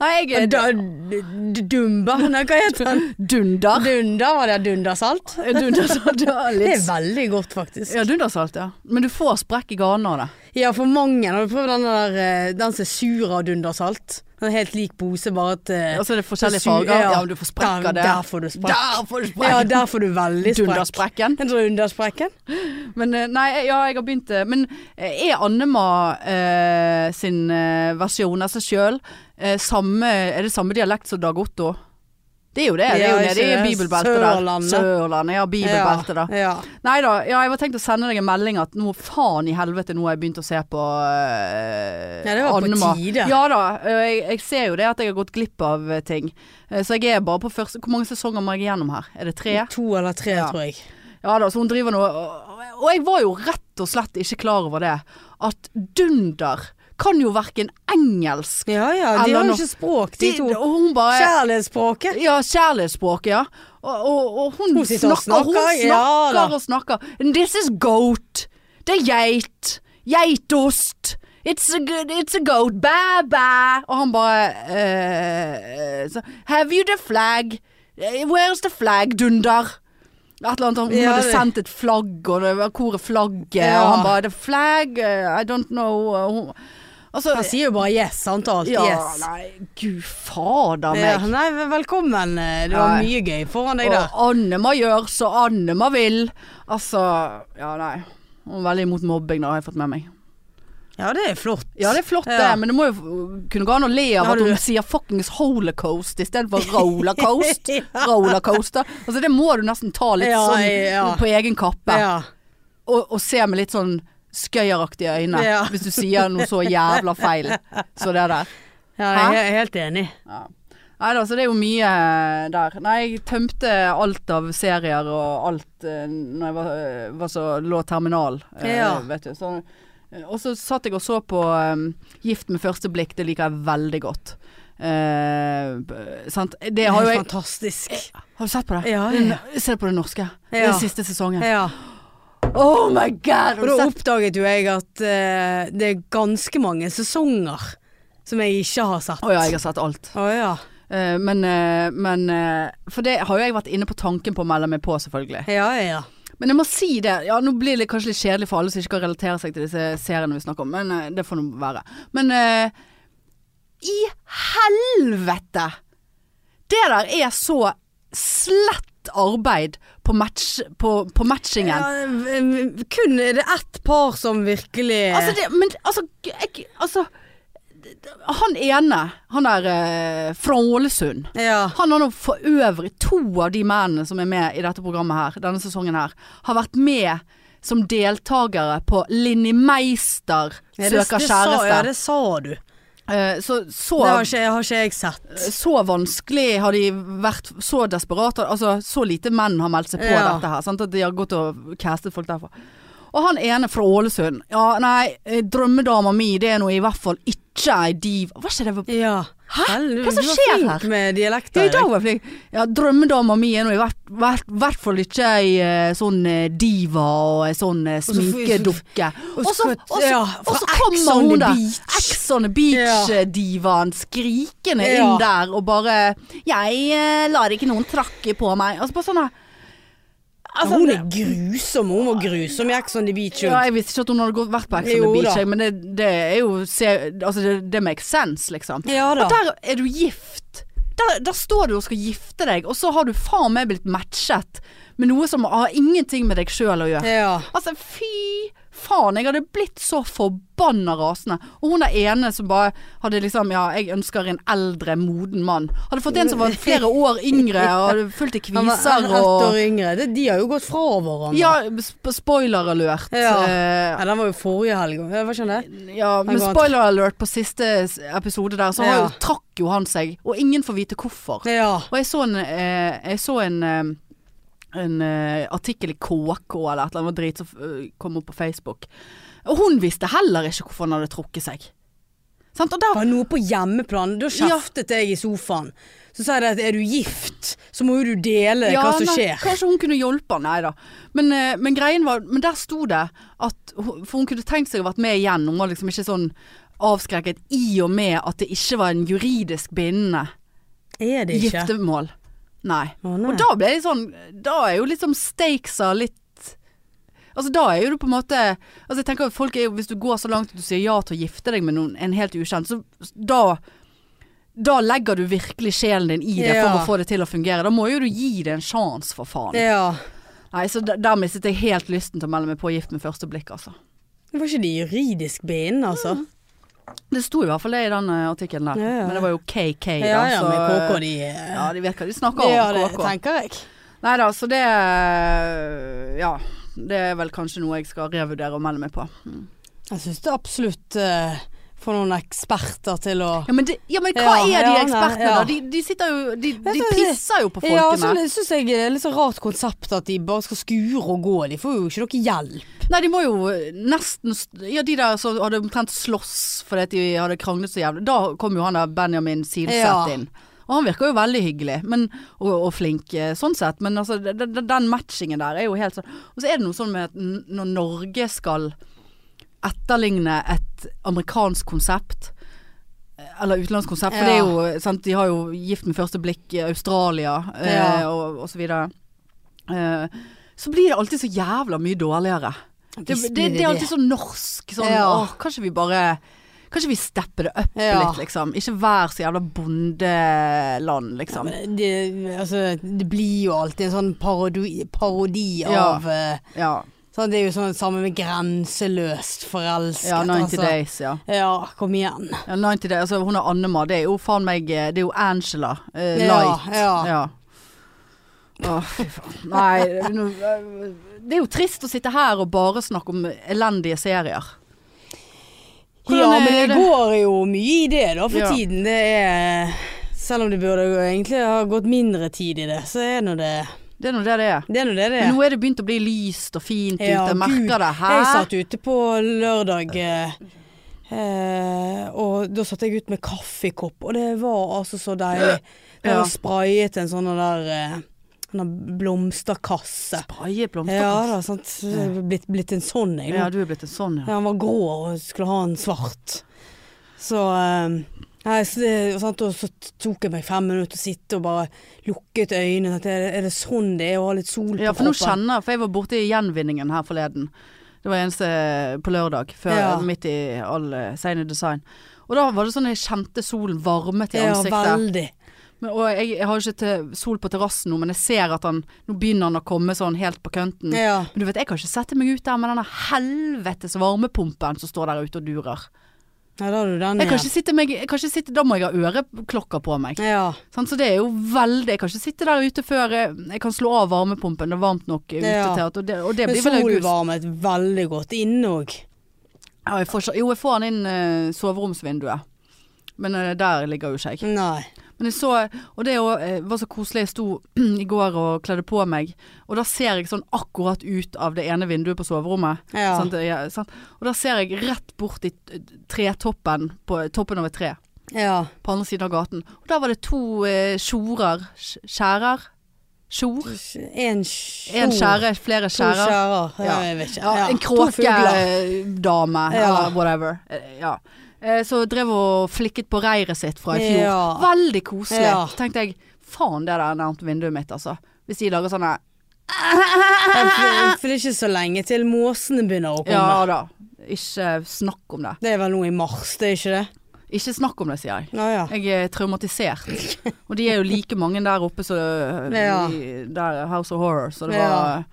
Nei, jeg da er d- d- Dumba, nei, hva heter den? dunder. Dunder, var det dundersalt? Dundersalt, ja. Det er Litt. veldig godt, faktisk. Ja, dundersalt, ja. Men du får sprekk i ganen av det. Ja, for mange. Har du prøvd den der eh, Den som er sur av dundersalt? Den er helt lik pose, bare at eh, Og så er Altså, det forskjellige så sur- farger. Ja, men du får sprekk der, av det. Der får du sprekk. Der får du Ja, sprekk. der får du veldig sprekk. Dundersprekken. Den dundersprekken? Men eh, nei, ja, jeg har begynt eh, Men eh, er Annema eh, sin eh, versjon av seg sjøl eh, samme Er det samme dialekt som Dag Otto? Det er jo det. Det er Ja, jo ikke nede i det. bibelbeltet der. Sørlandet. Sørlandet. Ja, bibelbeltet da. Ja. Nei da, ja, jeg var tenkt å sende deg en melding at nå faen i helvete, nå har jeg begynt å se på uh, Ja, det var på tide. Ja da, eh, jeg, jeg ser jo det at jeg har gått glipp av eh, ting. Eh, så jeg er bare på første Hvor mange sesonger må jeg gjennom her? Er det tre? To eller tre, Ja. tror jeg. Ja da, så hun driver nå og, og jeg var jo rett og slett ikke klar over det. At dunder kan jo verken engelsk Ja ja, de Eller har jo nå- ikke språk, de to. Og hun bare Kjærlighetsspråket. Ja, kjærlighetsspråket, ja. Og, og, og hun, Hun sitter snakker, og hun snakker, ja snakker da. og snakker. And this is goat. Det er geit. Geitost. It's a, good, it's a goat. Bæ, bæ. Og han bare eh, så, Have you the flag? Eh, Where's the flag, dunder? Et eller annet, Hun Ja, hadde det- sendt et flagg, og det var hvor er flagget? Ja. Og han bare The flag? eh, I don't know. Og hun, altså, Han sier jo bare yes, sant, og alt. ja, yes. nei, gud fader meg. Ja, nei, vel- velkommen. Det var Nei. mye gøy foran deg der. Og Annema gjør så Annema vil. Altså, ja nei. Hun er veldig imot mobbing, da, har jeg fått med meg. Ja, det er flott. Ja, det er flott det, Ja. men det må jo f- kunne gå an å le av Har at du- hun sier fuckings holocaust istedenfor rollercoast. Rollercoaster. Altså, det må du nesten ta litt Ja, sånn ja. på egen kappe. ja. Og, og se med litt sånn skøyeraktige øyne Ja. hvis du sier noe så jævla feil. Så det der. ja, jeg er helt enig. Ja. Nei da, så det er jo mye der. Nei, jeg tømte alt av serier og alt eh, når jeg var, eh, var så lå terminal, eh, Ja. vet du. Så, eh, og så satt jeg og så på eh, Gift med første blikk, det liker jeg veldig godt. Eh, b- sant? Det har jo jeg Fantastisk. Har du sett på det? Ja, Det er no- Se på det norske. Det er Ja. den siste sesongen. ja. Oh my Og god! Har da du sett? oppdaget jo jeg at eh, det er ganske mange sesonger som jeg ikke har sett. Å ja, jeg har sett alt. Å ja. Eh, men eh, men eh, For det har jo jeg vært inne på tanken på å melde meg på, selvfølgelig. Ja, ja, ja. Men jeg må si det. Ja, nå blir det kanskje litt kjedelig for alle som ikke kan relatere seg til disse seriene vi snakker om, men eh, det får nå være. Men eh, i helvete! Det der er så slett arbeid på, match, på, på matchingen. ja eh, kun er det ett par som virkelig Altså, det, men altså, g- jeg, altså d- d- Han ene, han der eh, fra Ålesund Ja. Han har nå for øvrig to av de mennene som er med i dette programmet her, denne sesongen her, har vært med som deltakere på Linni Meister Ja, det- søker det sa- kjæreste. Ja, det sa du. Eh, Så, så, Det har ikke, har ikke jeg sett. så vanskelig har de vært, så desperate. Altså så lite menn har meldt seg på Ja. dette her. Sant? At de har gått og castet folk derfra. Og han ene fra Ålesund. Ja, nei, eh, drømmedama mi, det er nå i hvert fall ikke ei div... Hva skjedde? Jeg var- Ja. Hæ? Hva som skjer Du her? var flink med dialekter. Ja, I dag var jeg flink. Ja, drømmedama mi er nå i hvert, hvert, hvert fall ikke ei eh, sånn eh, diva og ei sånn eh, så- sminkedukke. og Og så så- og så- ja, og fra så Ex kommer on hun the der. Beach. Ex on the Beach-divaen skrikende Ja. inn der og bare 'Jeg eh, lar ikke noen trakke på meg'. Altså bare sånn her. Altså, hun er grusom. Hun var grusom sånn i Ex on the Beach. hun. Ja, jeg visste ikke at hun hadde gått vært på Ex on Jo the Beach, da. jeg, men det, det er jo se, altså det, det makes sense, liksom. Ja da. Og der er du gift. Der, der står du og skal gifte deg, og så har du faen meg blitt matchet med noe som har ingenting med deg sjøl å gjøre. Ja. Altså, fy faen. Jeg hadde blitt så forbanna rasende. Og hun der ene som bare hadde liksom Ja, jeg ønsker en eldre, moden mann. Hadde fått en som var flere år yngre og hadde fullt i Han var kviser ett år og yngre. Det- De har jo gått fra hverandre. Ja, sp- spoiler alert. Ja. Eh, Ja, den var jo forrige helg. Ja, Hva skjønner jeg? Ja, men går an- spoiler alert på siste s- episode der, så har Ja. jo, trakk jo han seg, og ingen får vite hvorfor. Ja. Og jeg så en, eh, jeg så en, eh, en eh, artikkel i KK eller et eller annet drit som eh, kom opp på Facebook. Og hun visste heller ikke hvorfor han hadde trukket seg. Sant? Og Det der, var noe på hjemmeplan. Da kjeftet jeg i sofaen. Så sa jeg det at er du gift, så må jo du dele Ja, hva som nei, skjer. Kanskje hun kunne hjulpet han, nei da. Men, eh, men greien var, men der sto det at hun, For hun kunne tenkt seg å vært med igjen, hun var liksom ikke sånn avskrekket i og med at det ikke var en juridisk bindende Er det ikke? Giftermål. Nei. Å, nei. Og da ble jeg sånn Da er jo liksom stakesa litt Altså da er jo du på en måte Altså jeg tenker at folk er jo Hvis du går så langt at du sier ja til å gifte deg med noen, en helt ukjent, så da da legger du virkelig sjelen din i det for Ja. å få det til å fungere. Da må jo du gi det en sjanse, for faen. Ja. Nei, så der, der mistet jeg helt lysten til å melde meg på gift med første blikk, altså. Det var ikke det juridisk bindende, altså. Det sto i hvert fall det i den eh, artikkelen der. Ja, ja. Men det var jo KK, da. Ja ja, så, men KK eh, de eh, Ja, de vet hva de snakker om. Det gjør det, KK. tenker jeg. Nei da, så det eh, Ja. Det er vel kanskje noe jeg skal revurdere og melde meg på. Jeg syns det absolutt uh, får noen eksperter til å Ja, men, det, ja, men hva Ja, er de ja, nei, ekspertene, ja. da? De, de sitter jo De, de så- pisser jo på Ja, altså, folkene. det syns jeg er litt så rart konsept at de bare skal skure og gå. De får jo ikke noe hjelp. Nei, de må jo nesten st- Ja, de der som hadde omtrent slåss fordi at de hadde kranglet så jævlig. Da kom jo han der Benjamin Silseth Ja. inn. Og han virker jo veldig hyggelig men, og, og flink eh, sånn sett, men altså, de- de- den matchingen der er jo helt sånn Og så er det noe sånn med at n- når Norge skal etterligne et amerikansk konsept eh, eller utenlandsk konsept, for Ja. det er jo eh, sant, De har jo 'Gift med første blikk', eh, Australia eh, Ja. og, og så videre. Eh, så blir det alltid så jævla mye dårligere. Det, Visst det, blir det er alltid sånn norsk. Sånn, Ja. åh, kanskje vi bare Kanskje vi stepper det opp Ja. litt, liksom. Ikke vær så jævla bondeland, liksom. sånn, Men det, altså, det blir jo alltid en sånn parodi, parodi Ja. av eh, Ja. sånn, Det er jo sånn samme med grenseløst forelsket. ja 90 altså. Days, ja. Ja, kom igjen. ja 90 days, altså, hun er Annema. Det er jo faen meg eh, Det er jo Angela. eh, Ja, light. ja. Å, fy faen. Nei nå- eh, Det er jo trist å sitte her og bare snakke om elendige serier. Hvordan ja, er men det, det? går jo mye i det da for Ja. tiden. Det er Selv om det burde jo egentlig ha gått mindre tid i det, så er nå det Det er nå det det er. Det er nå det det Men er. nå er det begynt å bli lyst og fint Ja, ute. Jeg Gud, merker det. Hæ? Jeg satt ute på lørdag, eh, eh, og da satt jeg ut med kaffekopp, og det var altså så deilig. Det Ja. var sprayet en sånn der eh, en sånn blomsterkasse. Spraye Ja blomsterkast. da, sant. Så jeg er Blitt, blitt en sånn, jeg. nå. Ja, du er blitt en sånn, ja. Ja, han var grå og skulle ha en svart. Så eh, Nei, så, det, og sant, og så tok jeg meg fem minutter og sitte og bare lukket øynene. At er, det- er det sånn det er å ha litt sol på Ja, for nå kroppen? kjenner jeg, for jeg var borte i gjenvinningen her forleden. Det var eneste eh, på lørdag, før, Ja. midt i all eh, sein i design. Og da var det sånn jeg kjente solen varmet i Ja, ansiktet. veldig. Men, og jeg, jeg har jo ikke til, sol på terrassen nå, men jeg ser at han Nå begynner han å komme sånn helt på kønten. Ja. Men du vet, jeg kan ikke sette meg ut der med denne helvetes varmepumpen som står der ute og durer. ja, da har du den Jeg kan igjen. ikke sitte meg jeg kan ikke sitte, Da må jeg ha øreklokker på meg. Ja. Sant, så det er jo veldig Jeg kan ikke sitte der ute før jeg, jeg kan slå av varmepumpen. Det er varmt nok ute Ja. til at Og det, og det Men blir vel solen august. varmet veldig godt inne òg. Ja, jeg får, ikke- jo, jeg får den inn eh, soveromsvinduet. Men eh, der ligger jo ikke jeg. Nei. Men jeg så, og det er jo, eh, var så koselig. Jeg sto i går og kledde på meg, og da ser jeg sånn akkurat ut av det ene vinduet på soverommet. Ja. Sant? Ja, sant? Og da ser jeg rett bort i eh, tretoppen, på toppen av et tre, Ja. på andre siden av gaten. Og der var det to eh, tjorer. Skj- Skjærer? Tjor? En skjor. En skjære, flere To skjærer. skjærer. Ja. Ja. Jeg vet ikke. Ja, Ja, en to fugler. kråkedame, Ja. eller whatever. Eh, Ja. Eh, Så drev og flikket på reiret sitt fra i fjor. Ja. Veldig koselig. Ja. Så tenkte jeg, faen det der er nærmt vinduet mitt, altså. Hvis de lager sånne Ja, for- For det er ikke så lenge til måsene begynner å komme. Ja da. Ikke snakk om det. Det er vel noe i mars, det er ikke det? Ikke snakk om det, sier jeg. Å ja. Jeg er traumatisert. Og de er jo like mange der oppe som eh, Ja. i- der House of Horror, så det Ja. var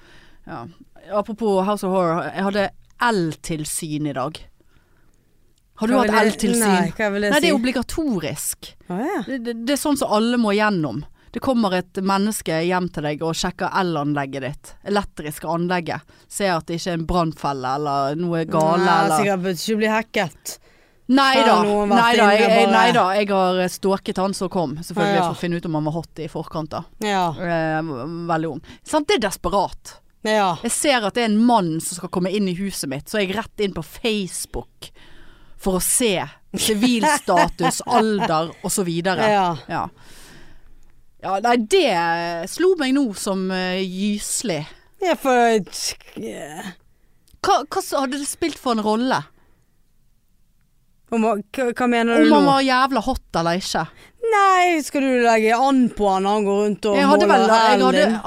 ja. Apropos House of Horror, jeg hadde eltilsyn i dag. Har du Hva vil hatt det- Nei, eltilsyn? hva vil det Nei, det er si? obligatorisk. Å ja. Det, det, det er sånn som alle må gjennom. Det kommer et menneske hjem til deg og sjekker elanlegget ditt. Elektriske anlegget. Ser at det ikke er en brannfelle eller noe gale Nei, eller Sikkert bør ikke bli hacket. Nei Her da, har noen vært nei da, inne jeg, jeg, bare- nei da, jeg har eh, stalket han som kom, selvfølgelig, Ja. for å finne ut om han var hot i forkant da. Ja. Eh, veldig ung. Sant, det er desperat. ja. Jeg ser at det er en mann som skal komme inn i huset mitt, så er jeg rett inn på Facebook for å se sivilstatus, alder og så videre. Ja. Ja. ja, nei, det slo meg nå som eh, gyselig. ja, for eh, ja. Hva, hva s- hadde det spilt for en rolle? Om, hva, hva mener du Om nå? han var jævla hot eller ikke? Nei, skal du legge an på han når han går rundt og Jeg hadde vel jeg hadde, din?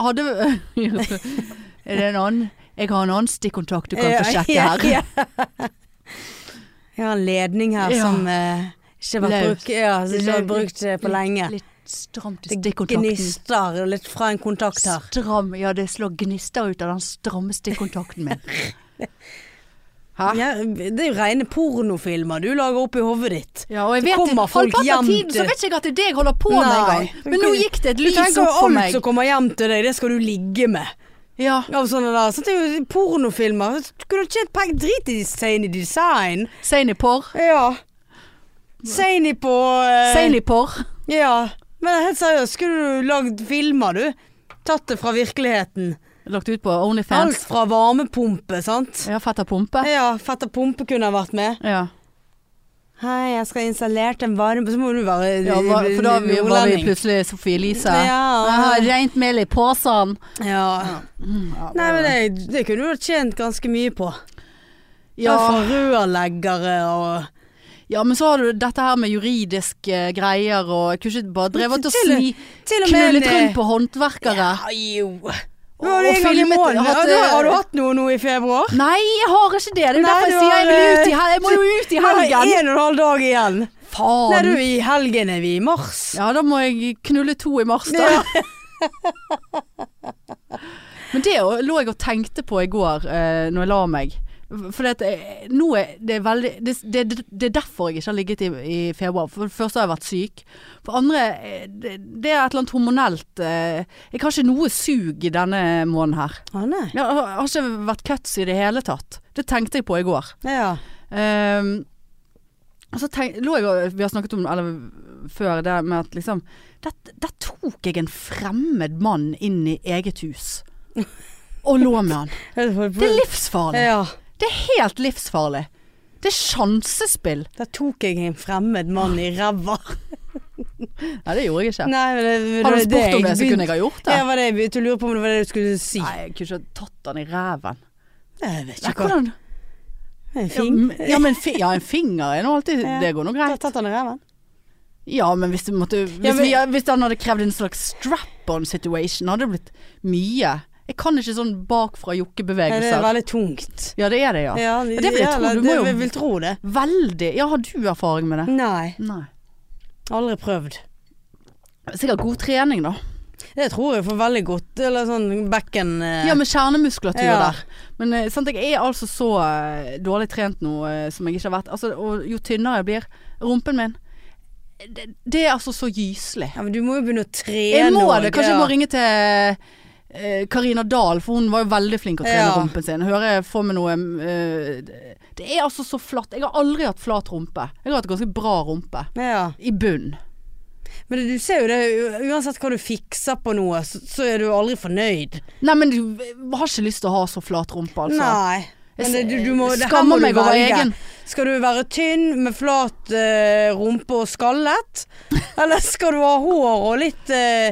hadde, Er det en annen? Jeg har en annen stikkontakt du kan få sjekke her. Ja, ja. Jeg har en ledning her Ja. som eh, ikke har vært Løs. brukt, ja, som ikke har vært brukt eh, på lenge. Litt, litt stramt i Det stikkontakten. gnister litt fra en kontakt her. Stram, ja det slår gnister ut av den stramme stikkontakten min. Hæ? Ja, det er jo rene pornofilmer du lager oppi hodet ditt. Ja, og jeg Så vet kommer ikke, folk Halvparten av hjem tiden så til- vet ikke jeg at det er det jeg holder på med Nei. engang. Men nå gikk det et lys Du tenker opp for alt meg. som kommer hjem til deg, det skal du ligge med. Ja. Av sånne der, sånt er jo pornofilmer. Kunne du tjent penger? Drit i design i design. Seinipor. Ja. Seini på eh, Seinipor. Ja. Men helt seriøst, skulle du lagd filmer, du? Tatt det fra virkeligheten. Lagt ut på Alt Eh. Onlyfans. fra varmepumpe, sant? Ja, fetter pumpe. Ja, fetter pumpe kunne ha vært med. Ja. Hei, jeg skal ha installert en varme... Så må du være ja var, for da vi- var vi plutselig Sofie Elise. Jeg Ja. har rent mel i posen. ja. Mm. Nei, men det, det kunne du ha tjent ganske mye på. Ja. ja, Fra rørleggere og ja, men så har du dette her med juridiske eh, greier og Jeg kunne ikke bare drevet og eh, Til- sni Til en- knullet eh, rundt på håndverkere. Ja, jo. Og- Nå har du og en gang i filmet- måneden. hatt, Har du- Har du eh, hatt noe nå i februar? Nei, jeg har ikke det. Det er jo Nei, derfor jeg du har, sier jeg vil ut i eh, helgen. Jeg må jo ut i helgen. en og en halv dag igjen. Nei, Faen. du, i helgen er vi i mars. Ja, da må jeg knulle to i mars, da. Men det å- lå jeg og tenkte på i går eh, når jeg la meg. For det, at, eh, nå er det er veldig det, det, det er derfor jeg ikke har ligget i, i februar. For det første har jeg vært syk. For andre eh, det, det er et eller annet hormonelt eh, Jeg har ikke noe sug i denne måneden her. Å, nei. Jeg har, har ikke vært cuts i det hele tatt. Det tenkte jeg på i går. Ja. Ehm, og så tenk, lå jeg og Vi har snakket om eller, før det med at liksom der, der tok jeg en fremmed mann inn i eget hus. Og lå med han. Det er livsfarlig. Ja. Det er helt livsfarlig. Det er sjansespill. Da tok jeg en fremmed mann i ræva. Nei, det gjorde jeg ikke. Nei, men det- Hadde det- du spurt om det, så kunne begynte- jeg ha gjort det. Ja, var det jeg begynte å lure på om det var det du skulle si. Nei, jeg kunne ikke ha tatt han i ræven. Jeg vet Ja, ikke hva. hvordan? En Ja, fing. men- ja, men fi, ja, en finger er nå alltid Ja. Det går nå Ta- greit. Tatt han i ræven? Ja, men hvis, du måtte, hvis, Ja, men- vi, hvis han hadde krevd en slags strap-on situation, hadde det blitt mye. Jeg kan ikke sånn bakfra Nei, Det er jokkebevegelser. veldig tungt. Ja, det er det, ja. Ja, det vil jeg tro. eller Du må jo- det- Jeg vil tro det. Veldig. Ja, har du erfaring med det? Nei. Nei. Aldri prøvd. Sikkert god trening, da. Det tror jeg for veldig godt. Eller sånn bekken eh, Ja, med kjernemuskulatur Ja. der. Men eh, sant, jeg er altså så eh, dårlig trent nå eh, som jeg ikke har vært. Altså, og jo tynnere jeg blir, rumpen min Det, det er altså så gyselig. ja, men Du må jo begynne å trene. Jeg må og- det. Kanskje ja. jeg må ringe til eh, Karina Dahl, for hun var jo veldig flink å trene Ja. rumpen sin. Hører jeg får meg noe eh, Det er altså så flatt. Jeg har aldri hatt flat rumpe. Jeg har hatt ganske bra rumpe. Ja. I bunn. Men du ser jo det, u- uansett hva du fikser på noe, så, så er du aldri fornøyd. Nei, men du har ikke lyst til å ha så flat rumpe, altså. Nei. Men det, du, du må, det her Skammer må du meg over velge. egen. Skal du være tynn med flat eh, rumpe og skallet? Eller skal du ha hår og litt eh,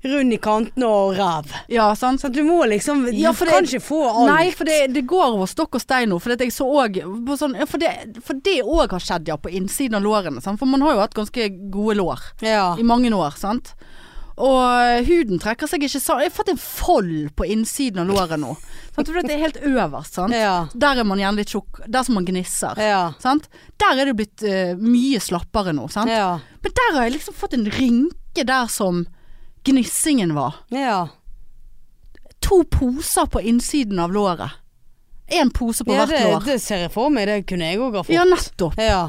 rund i kantene og ræv? Ja, sant. Så at du må liksom Du Ja, for det- kan ikke få alt. Nei, for det, det går over stokk og stein nå. For det, jeg så også på sånn, ja, for det- for det òg har skjedd, ja. På innsiden av lårene. Sant? For man har jo hatt ganske gode lår. Ja. i mange år, sant? Og eh, huden trekker seg ikke sammen. Jeg har fått en fold på innsiden av låret nå. Sant? For det er helt øverst, sant? Ja. Der er man gjerne litt tjukk. Der som man gnisser. Ja. Sant? Der er det blitt eh, mye slappere nå, sant? Ja. Men der har jeg liksom fått en rynke der som gnissingen var. ja. To poser på innsiden av låret. Én pose på ja hvert det, lår. det ser jeg for meg. Det kunne jeg òg ha fått. Ja, nettopp. Ja.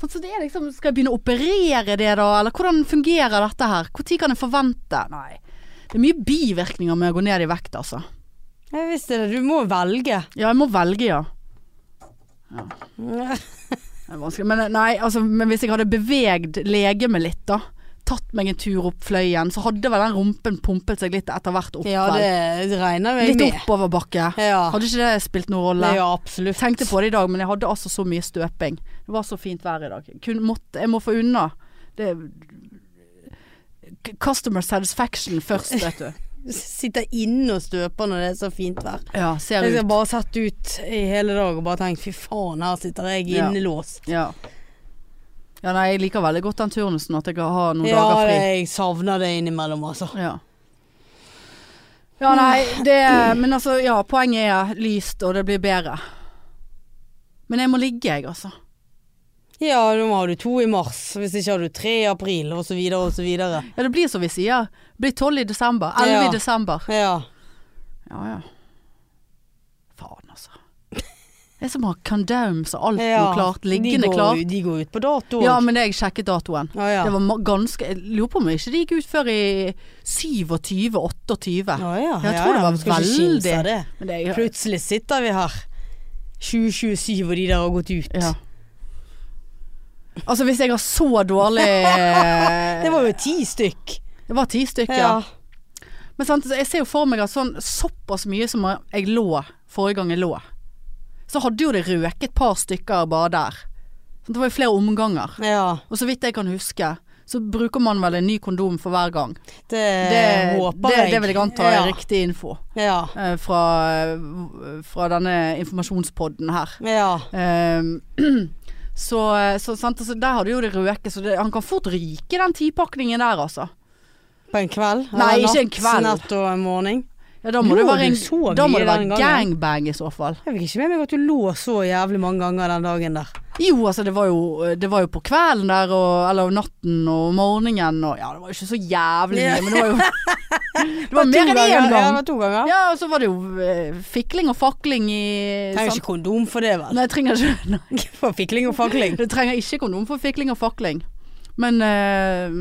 Sånn, så det er liksom, skal jeg begynne å operere det da, eller hvordan fungerer dette her? Når kan jeg forvente? Nei. Det er mye bivirkninger med å gå ned i vekt, altså. Jeg visste det. Du må velge. Ja, jeg må velge, ja. Det er vanskelig. Men, nei, altså, men hvis jeg hadde bevegd legemet litt, da. Tatt meg en tur opp fløyen, så hadde vel den rumpen pumpet seg litt etter hvert opp. Ja, vel. det regner jeg Litt med. oppoverbakke. Ja. Hadde ikke det spilt noen rolle? Nei, ja, absolutt. tenkte på det i dag, men jeg hadde altså så mye støping. Det var så fint vær i dag. Kun måtte, jeg må få unna. Det K- Customer satisfaction først, vet du. Sitter inne og støper når det er så fint vær. Ja, ser Jeg har ut. bare sett ut i hele dag og bare tenkt fy faen, her sitter jeg Ja. innelåst. Ja. ja, nei, jeg liker veldig godt den turnusen, at jeg har noen Ja, dager det, fri. jeg savner det innimellom, altså. Ja. ja, nei, det Men altså, ja, poenget er lyst, og det blir bedre. Men jeg må ligge, jeg, altså. Ja, nå har du to i mars, hvis ikke har du tre i april, og så videre og så videre. Ja, det blir som vi sier. Det blir tolv i desember. Elleve Ja. i desember. Ja. Ja ja. Faen, altså. Det er som å ha condoms og alt Ja, noe klart, de liggende går, klart. De går ut på dato. Ja, men jeg sjekket datoen. Å, ja. Det var ma- ganske Jeg lurer på om ikke det gikk ut før i 27-28. Å, ja, Jeg ja, tror det ja, var vi skal ikke kimse veldig- av det. Men det er Plutselig sitter vi her. 2027 og de der har gått ut. ja. Altså hvis jeg har så dårlig eh, Det var jo ti stykk. Det var ti stykker. Ja. Men sant, så jeg ser jo for meg at sånn såpass mye som jeg lå forrige gang jeg lå, så hadde jo det røket et par stykker bare der. Så det var jo flere omganger. ja. Og så vidt jeg kan huske, så bruker man vel en ny kondom for hver gang. Det, Det, Eh, håper det, jeg. det vil jeg anta er ja. riktig info Ja. eh, fra, eh, fra denne informasjonspodden her. ja. Ehm, så, så sant, altså, der hadde jo det røket, så det, han kan fort ryke den tipakningen der, altså. På en kveld? Nei, Eller ikke en natt, kveld. Natt og en morgen. Ja, da må Lå det være, du så en, da må mye det være den gangen? gangbang i så fall. Jeg fikk ikke med meg at du lå så jævlig mange ganger den dagen der. Jo, altså det var jo, det var jo på kvelden der, og, eller natten og morgenen og Ja, det var jo ikke så jævlig mye, men det var jo Det to var mer enn ganger. én Ja, det gang. var to ganger. Ja, og så var det jo eh, fikling og fakling i Trenger sant? ikke kondom for det, vel? Nei, jeg trenger ikke nei, For fikling og fakling. Du trenger ikke kondom for fikling og fakling. Men eh,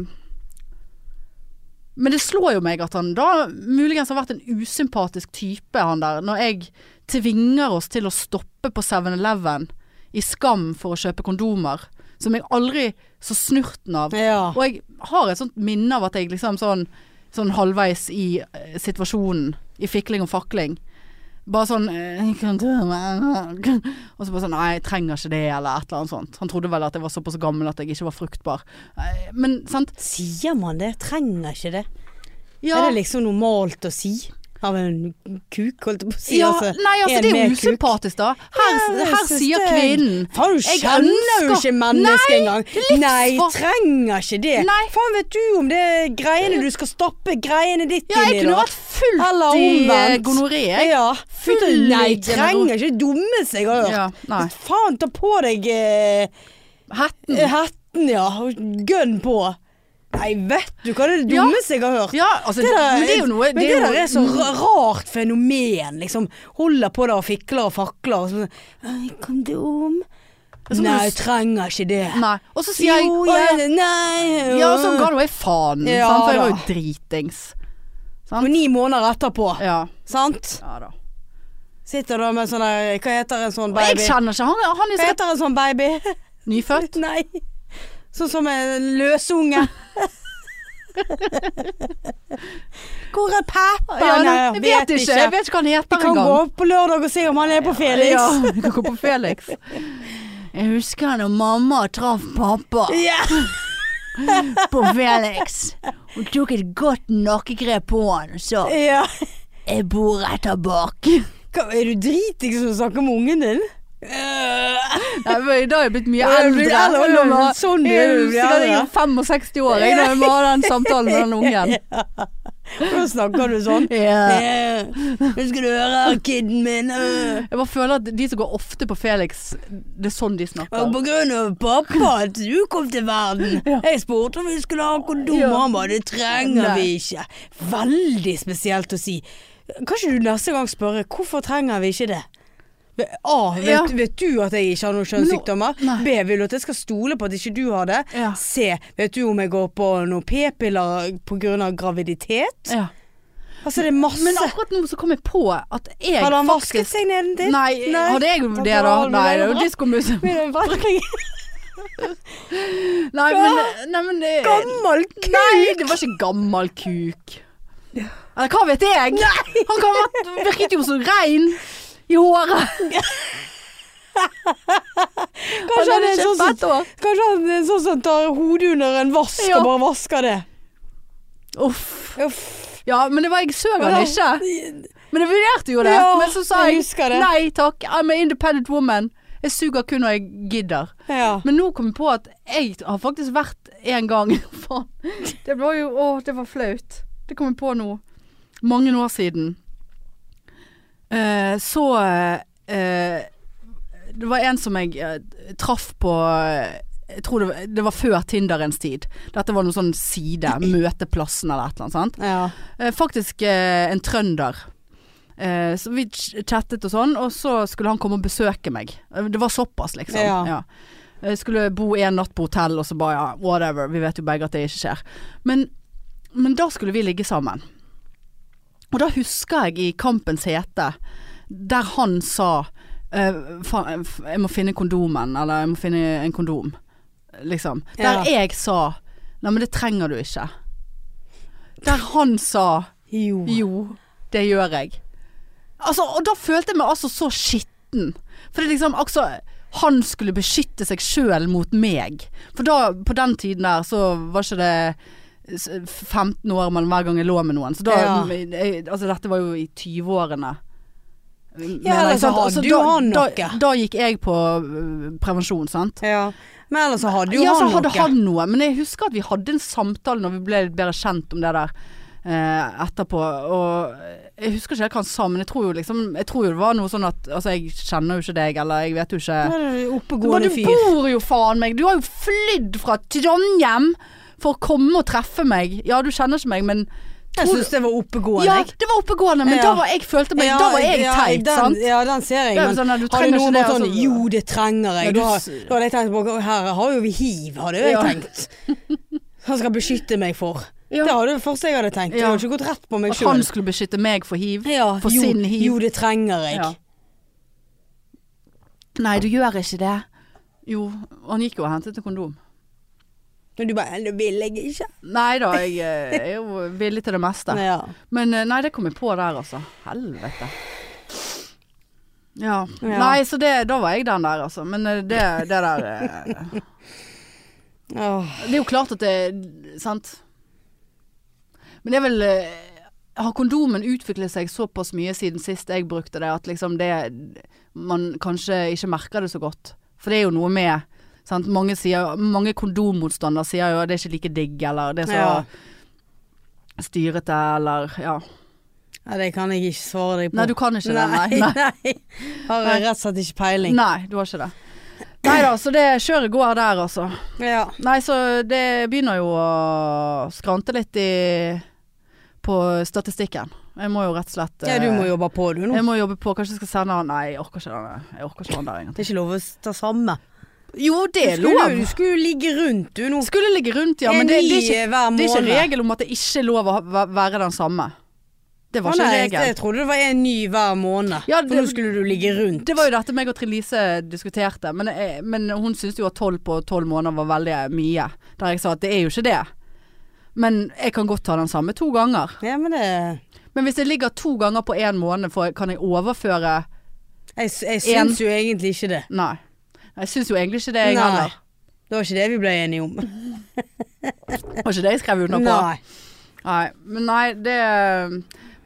Men det slår jo meg at han da muligens har vært en usympatisk type, han der. Når jeg tvinger oss til å stoppe på 7-Eleven i skam for å kjøpe kondomer, som jeg aldri så snurten av. Ja. Og jeg har et sånt minne av at jeg liksom sånn, sånn halvveis i eh, situasjonen, i fikling og fakling Bare sånn eh, kondom, eh, Og så bare sånn Nei, jeg trenger ikke det, eller et eller annet sånt. Han trodde vel at jeg var såpass gammel at jeg ikke var fruktbar. Eh, Men sant? Sier man det? Trenger ikke det? Ja, Er det liksom normalt å si? Av en kuk, holdt jeg på å si. ja altså, Nei, altså, en det er med jo kuk. usympatisk, da. Her, Ja, jeg her synes sier det- kvinnen Faen, du Jeg kjenner jo ønsker- ikke mennesket engang. livsfor- Nei, trenger ikke det. Nei. Faen, vet du om det er greiene du skal stappe greiene ditt Ja, jeg inn i, kunne da? vært fullt Eller i eh, omvendt. gonoré. jeg. Ja. Full Nei, gjennom- trenger ikke dumme seg, har jeg Ja, hørt. nei. Faen, ta på deg eh, Hatten. hetten, ja. og Gønn på. Nei, vet du hva det Ja. dummeste jeg har hørt? Ja, altså, Det der, men det er jo noe men det jo- der er så ra- rart fenomen, liksom. Holder på der og fikler og fakler. Og sånn, «Ei, kondom. så må Nei, du jeg trenger ikke det. Nei. Og så sier jeg jo, «Å, ja, jeg Nei. Ja, og så ga nå jeg faen, Ja, sant? for jeg da. var jo dritings. Og ni måneder etterpå, Ja. sant? ja da. Sitter da med sånn der Hva heter en sånn Og jeg baby? kjenner ikke han, han er Hva sikkert heter en sånn baby? nyfødt. Nei. Sånn som en løsunge. Hvor er pappa? Ja, Nei, jeg vet ikke. Jeg vet ikke hva han Vi heter kan gå engang. opp på lørdag og se om han er på Felix. Ja, vi kan gå på Felix. Jeg husker når mamma traff pappa Ja. på Felix. Hun tok et godt nakkegrep på han og sa Ja. 'jeg bor rett der bak'. Hva, Er du dritings som snakker med ungen din? Da er jeg blitt mye Ja, du blir eldre. eldre, Jeg men var- sånn er jeg du, du blir husker jeg eldre. var 65 år jeg, da jeg var den samtalen med den ungen. Hvordan snakker du sånn? Ja. Ja. Nå skal du høre her, kiden min. Øh. Jeg bare føler at de som går ofte på Felix, det er sånn de Og snakker. på grunn av pappa at du kom til verden. Jeg spurte om vi skulle ha kondom, Ja. og han bare det trenger Nei. vi ikke. Veldig spesielt å si. Kan ikke du neste gang spørre hvorfor trenger vi ikke det? B- A. Vet, Ja. vet du at jeg ikke har noen kjønnssykdommer? Nei. B. Vil du at jeg skal stole på at ikke du har det? Ja. C. Vet du om jeg går på noen p-piller pga. graviditet? Ja. Altså det er masse Men akkurat nå så kom jeg på at jeg Hadde han vasket faktisk seg nedentil? Nei, hadde jeg det da? var- Nei, det er jo var- diskomus. Men det var virkelig Nei, men, nei, men det, Gammel Nei, det var ikke gammel kuk. Eller hva vet jeg? Han kan ha vært- virket jo så rein i håret. Kanskje han er en sånn som fett hår. Kanskje han er sånn som tar hodet under en vask Ja. og bare vasker det. Uff. Uff. Ja, men det var jeg søk han ikke. Men jeg vurderte jo det. Ja, men så sa jeg jeg, husker det. nei takk, I'm an independent woman. Jeg suger kun når jeg gidder. Ja. Men nå kom jeg på at jeg har faktisk vært en gang Faen. Det var jo Å, det var flaut. Det kom jeg på nå. Mange år siden. Eh, så eh, Det var en som jeg eh, traff på eh, Jeg tror det var, det var før Tinderens tid. Dette var noen sånn side, møteplassen eller et eller annet. sant? ja. Eh, faktisk eh, en trønder. Eh, så vi ch- chattet og sånn, og så skulle han komme og besøke meg. Eh, Det var såpass, liksom. Ja. Ja. Eh, Skulle bo en natt på hotell, og så bare ja, whatever. Vi vet jo begge at det ikke skjer. Men, men da skulle vi ligge sammen. Og da husker jeg i Kampens hete, der han sa eh, faen, jeg må finne kondomen, eller jeg må finne en kondom. Liksom. Ja. Der jeg sa nei, men det trenger du ikke. Der han sa Jo. jo, det gjør jeg. Altså, og da følte jeg meg altså så skitten. For det er liksom altså, Han skulle beskytte seg sjøl mot meg. For da, på den tiden der, så var ikke det s- 15 år mellom hver gang jeg lå med noen. Så da Ja. jeg, Altså, dette var jo i 20-årene. mener Ja, jeg, eller så sant? hadde Altså, jo da, han Da, noe. da gikk jeg på øh, prevensjon, sant. Ja. Men ellers så hadde jo ja, han så hadde noe. han noe. Men jeg husker at vi hadde en samtale når vi ble litt bedre kjent om det der eh, etterpå. Og jeg husker ikke helt hva han sa, men jeg tror jo liksom Jeg tror jo det var noe sånn at Altså, jeg kjenner jo ikke deg, eller jeg vet jo ikke Nei, Men Oppegående Du fyr. bor jo faen meg! Du har jo flydd fra Trondheim for å komme og treffe meg. Ja, du kjenner ikke meg, men Jeg syns det var oppegående. Ja, jeg. det var oppegående, men Ja. da var jeg følte meg Da var jeg ja, teit, den, sant? Ja, den ser jeg. Det er jo Men sånn at du hadde trenger noen vært ikke det, sånn altså. Jo, det trenger Ja, jeg. du Da, s- da hadde jeg tenkt på Her har jo vi hiv, hadde jeg Ja. tenkt. Han skal beskytte meg for. Ja. Det hadde det første jeg hadde tenkt. Jeg Ja. hadde ikke gått rett på meg At han sjøl. skulle beskytte meg for hiv. Ja, for jo, sin hiv. jo, det trenger jeg. Ja. Nei, du gjør ikke det. Jo, han gikk jo og hentet en kondom. Men du bare Det vil jeg ikke. Nei da, jeg eh, er jo villig til det meste. Ja. Men eh, nei, det kom jeg på der, altså. Helvete. Ja. Ja. Nei, så det, da var jeg den der, altså. Men eh, det, det der eh, Åh. Det er jo klart at det Sant? Men det er vel eh, Har kondomen utviklet seg såpass mye siden sist jeg brukte det, at liksom det Man kanskje ikke merker det så godt. For det er jo noe med sant? Mange, sier, mange kondommotstandere sier jo at det er ikke like digg, eller det er så Ja. styrete, eller Ja. Ja, det kan jeg ikke svare deg på. Nei, du kan ikke det. Nei. nei. Nei. Har jeg rett og slett ikke peiling. Nei, du har ikke det. Nei da, så det kjøret går der, altså. Ja. Nei, så det begynner jo å skrante litt i på statistikken. Jeg må jo rett og slett ja, du må eh, jobbe på du nå. Jeg må jobbe på, kanskje jeg skal sende han Nei, jeg orker ikke han, jeg orker ikke han der Det er egentlig. ikke lov å ta samme. Jo, det Du er skulle, lov! du skulle jo ligge rundt du nå. Skulle ligge rundt, ja. Men det, det, hver er, ikke, eh, måned. det er ikke regel om at det ikke er lov å ha- væ- være den samme. Det var Å, ikke nei, regel. Jeg trodde det var en ny hver måned. Ja, For nå det- skulle du ligge rundt. Det var jo dette meg og Trine Lise diskuterte, men, jeg, men hun syntes jo at tolv på tolv måneder var veldig mye. Der jeg sa at det er jo ikke det. Men jeg kan godt ta den samme to ganger. Ja, men det Men hvis jeg ligger to ganger på én måned, får- kan jeg overføre Jeg, s- jeg En- syns jo egentlig ikke det. Nei. Jeg syns jo egentlig ikke det, jeg Nei. heller. Det var ikke det vi ble enige om. Var ikke det jeg skrev under på. Nei. Nei. Men nei, det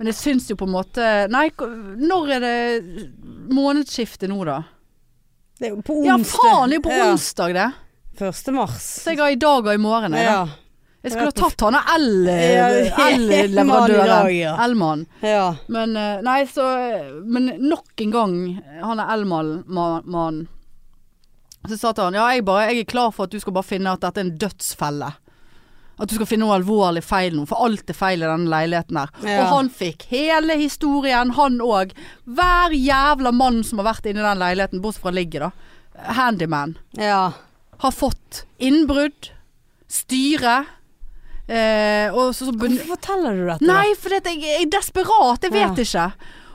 Men jeg syns jo på en måte Nei, k- når er det månedsskiftet nå, da? Det er jo på Ja, onsdag. faen! Det er jo på onsdag, det. Ja. 1. mars. Så jeg har i dag og i morgen. jeg, da. Ja. Jeg skulle ha tatt han av el- Ja, Elmann i el-leverandøren. dag, ja. Elmann. ja. Men eh, nei, så Men nok en gang, han er Elmann-mannen. Så sa jeg til han ja, jeg, bare, jeg er klar for at du skal bare finne at dette er en dødsfelle. At du skal finne noe alvorlig feil nå, for alt er feil i denne leiligheten her. Ja. Og han fikk hele historien, han òg. Hver jævla mann som har vært inni den leiligheten, bortsett fra ligget, da. Handyman ja. har fått innbrudd, styre eh, og så, så ben- Hvorfor forteller du dette? Nei, for jeg, jeg er desperat, jeg vet ikke.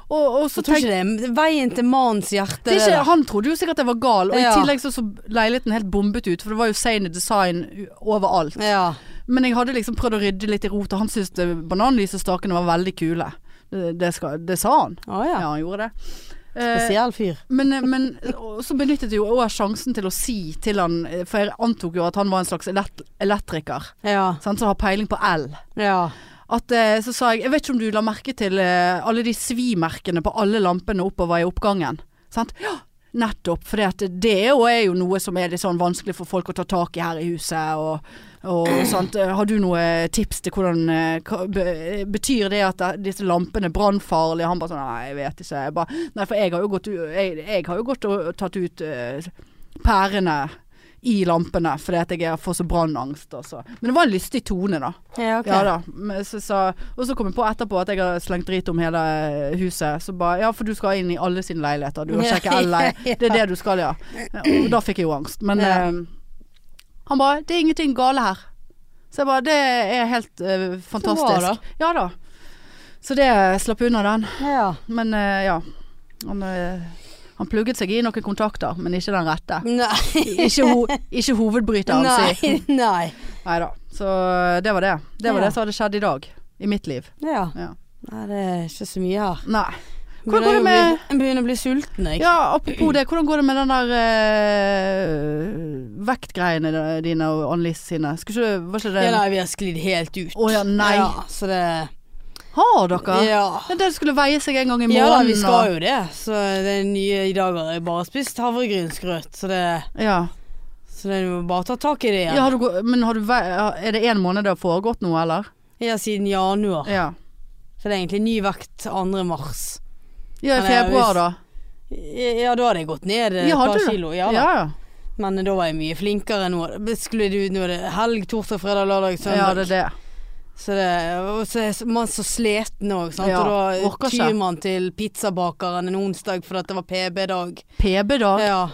Og, og Så så tror tenk, ikke det er veien til mannens hjerte. det er det ikke, der. han trodde jo sikkert jeg var gal, og Ja. i tillegg så, så leiligheten helt bombet ut, for det var jo Sane Design u- overalt. Ja. Men jeg hadde liksom prøvd å rydde litt i rot, og han syntes det- bananlysestakene var veldig kule. Det, det, skal, det sa han. Å ja. Ja, han gjorde det. Eh, Spesiell fyr. Men, men eh, og så benyttet jeg jo også sjansen til å si til han, eh, for jeg antok jo at han var en slags elekt elektriker. Ja. sant, som har peiling på el. ja. At, eh, så sa jeg Jeg vet ikke om du la merke til eh, alle de svimerkene på alle lampene oppover i oppgangen. Sant? Ja, nettopp. For det er jo, er jo noe som er litt sånn vanskelig for folk å ta tak i her i huset. Og, og, sant? Eh, Har du noe tips til hvordan eh, hva- be- Betyr det at eh, disse lampene er brannfarlige? Han bare sånn Nei, jeg vet ikke. Jeg bare, nei, for jeg har jo gått, u- jeg, jeg har jo gått og tatt ut eh, pærene i lampene fordi at jeg får så brannangst. Altså. Men det var en lystig tone, da. Ja, ok. Ja da. Men Så, så, og så kom jeg på etterpå at jeg har slengt drit om hele eh, huset. Så bare Ja, for du skal inn i alle sine leiligheter. Du har sjekket alle leiligheter. Det er det du skal, ja. Og da fikk jeg jo angst. Men Ja. eh, han bare 'Det er ingenting gale her'. Så jeg bare 'Det er helt eh, fantastisk'. da. Ja da. Så det eh, slapp unna den. ja. Men eh, ja. Han, eh, han plugget seg i noen kontakter, men ikke den rette. Nei. Ikke, ho ikke hovedbryteren, si. Nei. Nei. Nei da. Så det var det. Det var Ja. det som hadde skjedd i dag. I mitt liv. Ja. Ja. Nei, det er ikke så mye her. Nei. Hvordan Begynner går det jeg å med- bli- Jeg begynner å bli sulten, jeg. Ja, apropos det. Hvordan går det med den der eh, vektgreiene da- dine og Annelise sine? Skulle ikke Var ikke det Ja, nei, vi har sklidd helt ut. Å ja, nei. Ja, så det Har dere? Ja. Det er det skulle veie seg en gang i Ja, måneden. da, vi skal og- jo det. Så det er nye i dag har jeg bare spist havregrynsgrøt, så det ja. Så det er jo bare å ta tak i det Ja, igjen. har du, gå- men har du, vei- er det én måned det har foregått noe, eller? Ja, siden januar. Ja. Så det er egentlig ny vekt 2. mars. Ja, i Eller februar, hvis- da. Ja, da hadde jeg gått ned et Ja, par hadde du det? kilo. Ja, Ja, da. ja. Men da var jeg mye flinkere nå. Det Skulle det ut nå er det helg, torsdag, fredag, lørdag, ja, søndag. det er det. Så det, og så er man så sliten òg, sant. Ja, og da orker ikke. tyr man til pizzabakeren en onsdag fordi at det var PB-dag. PB, da. Ja.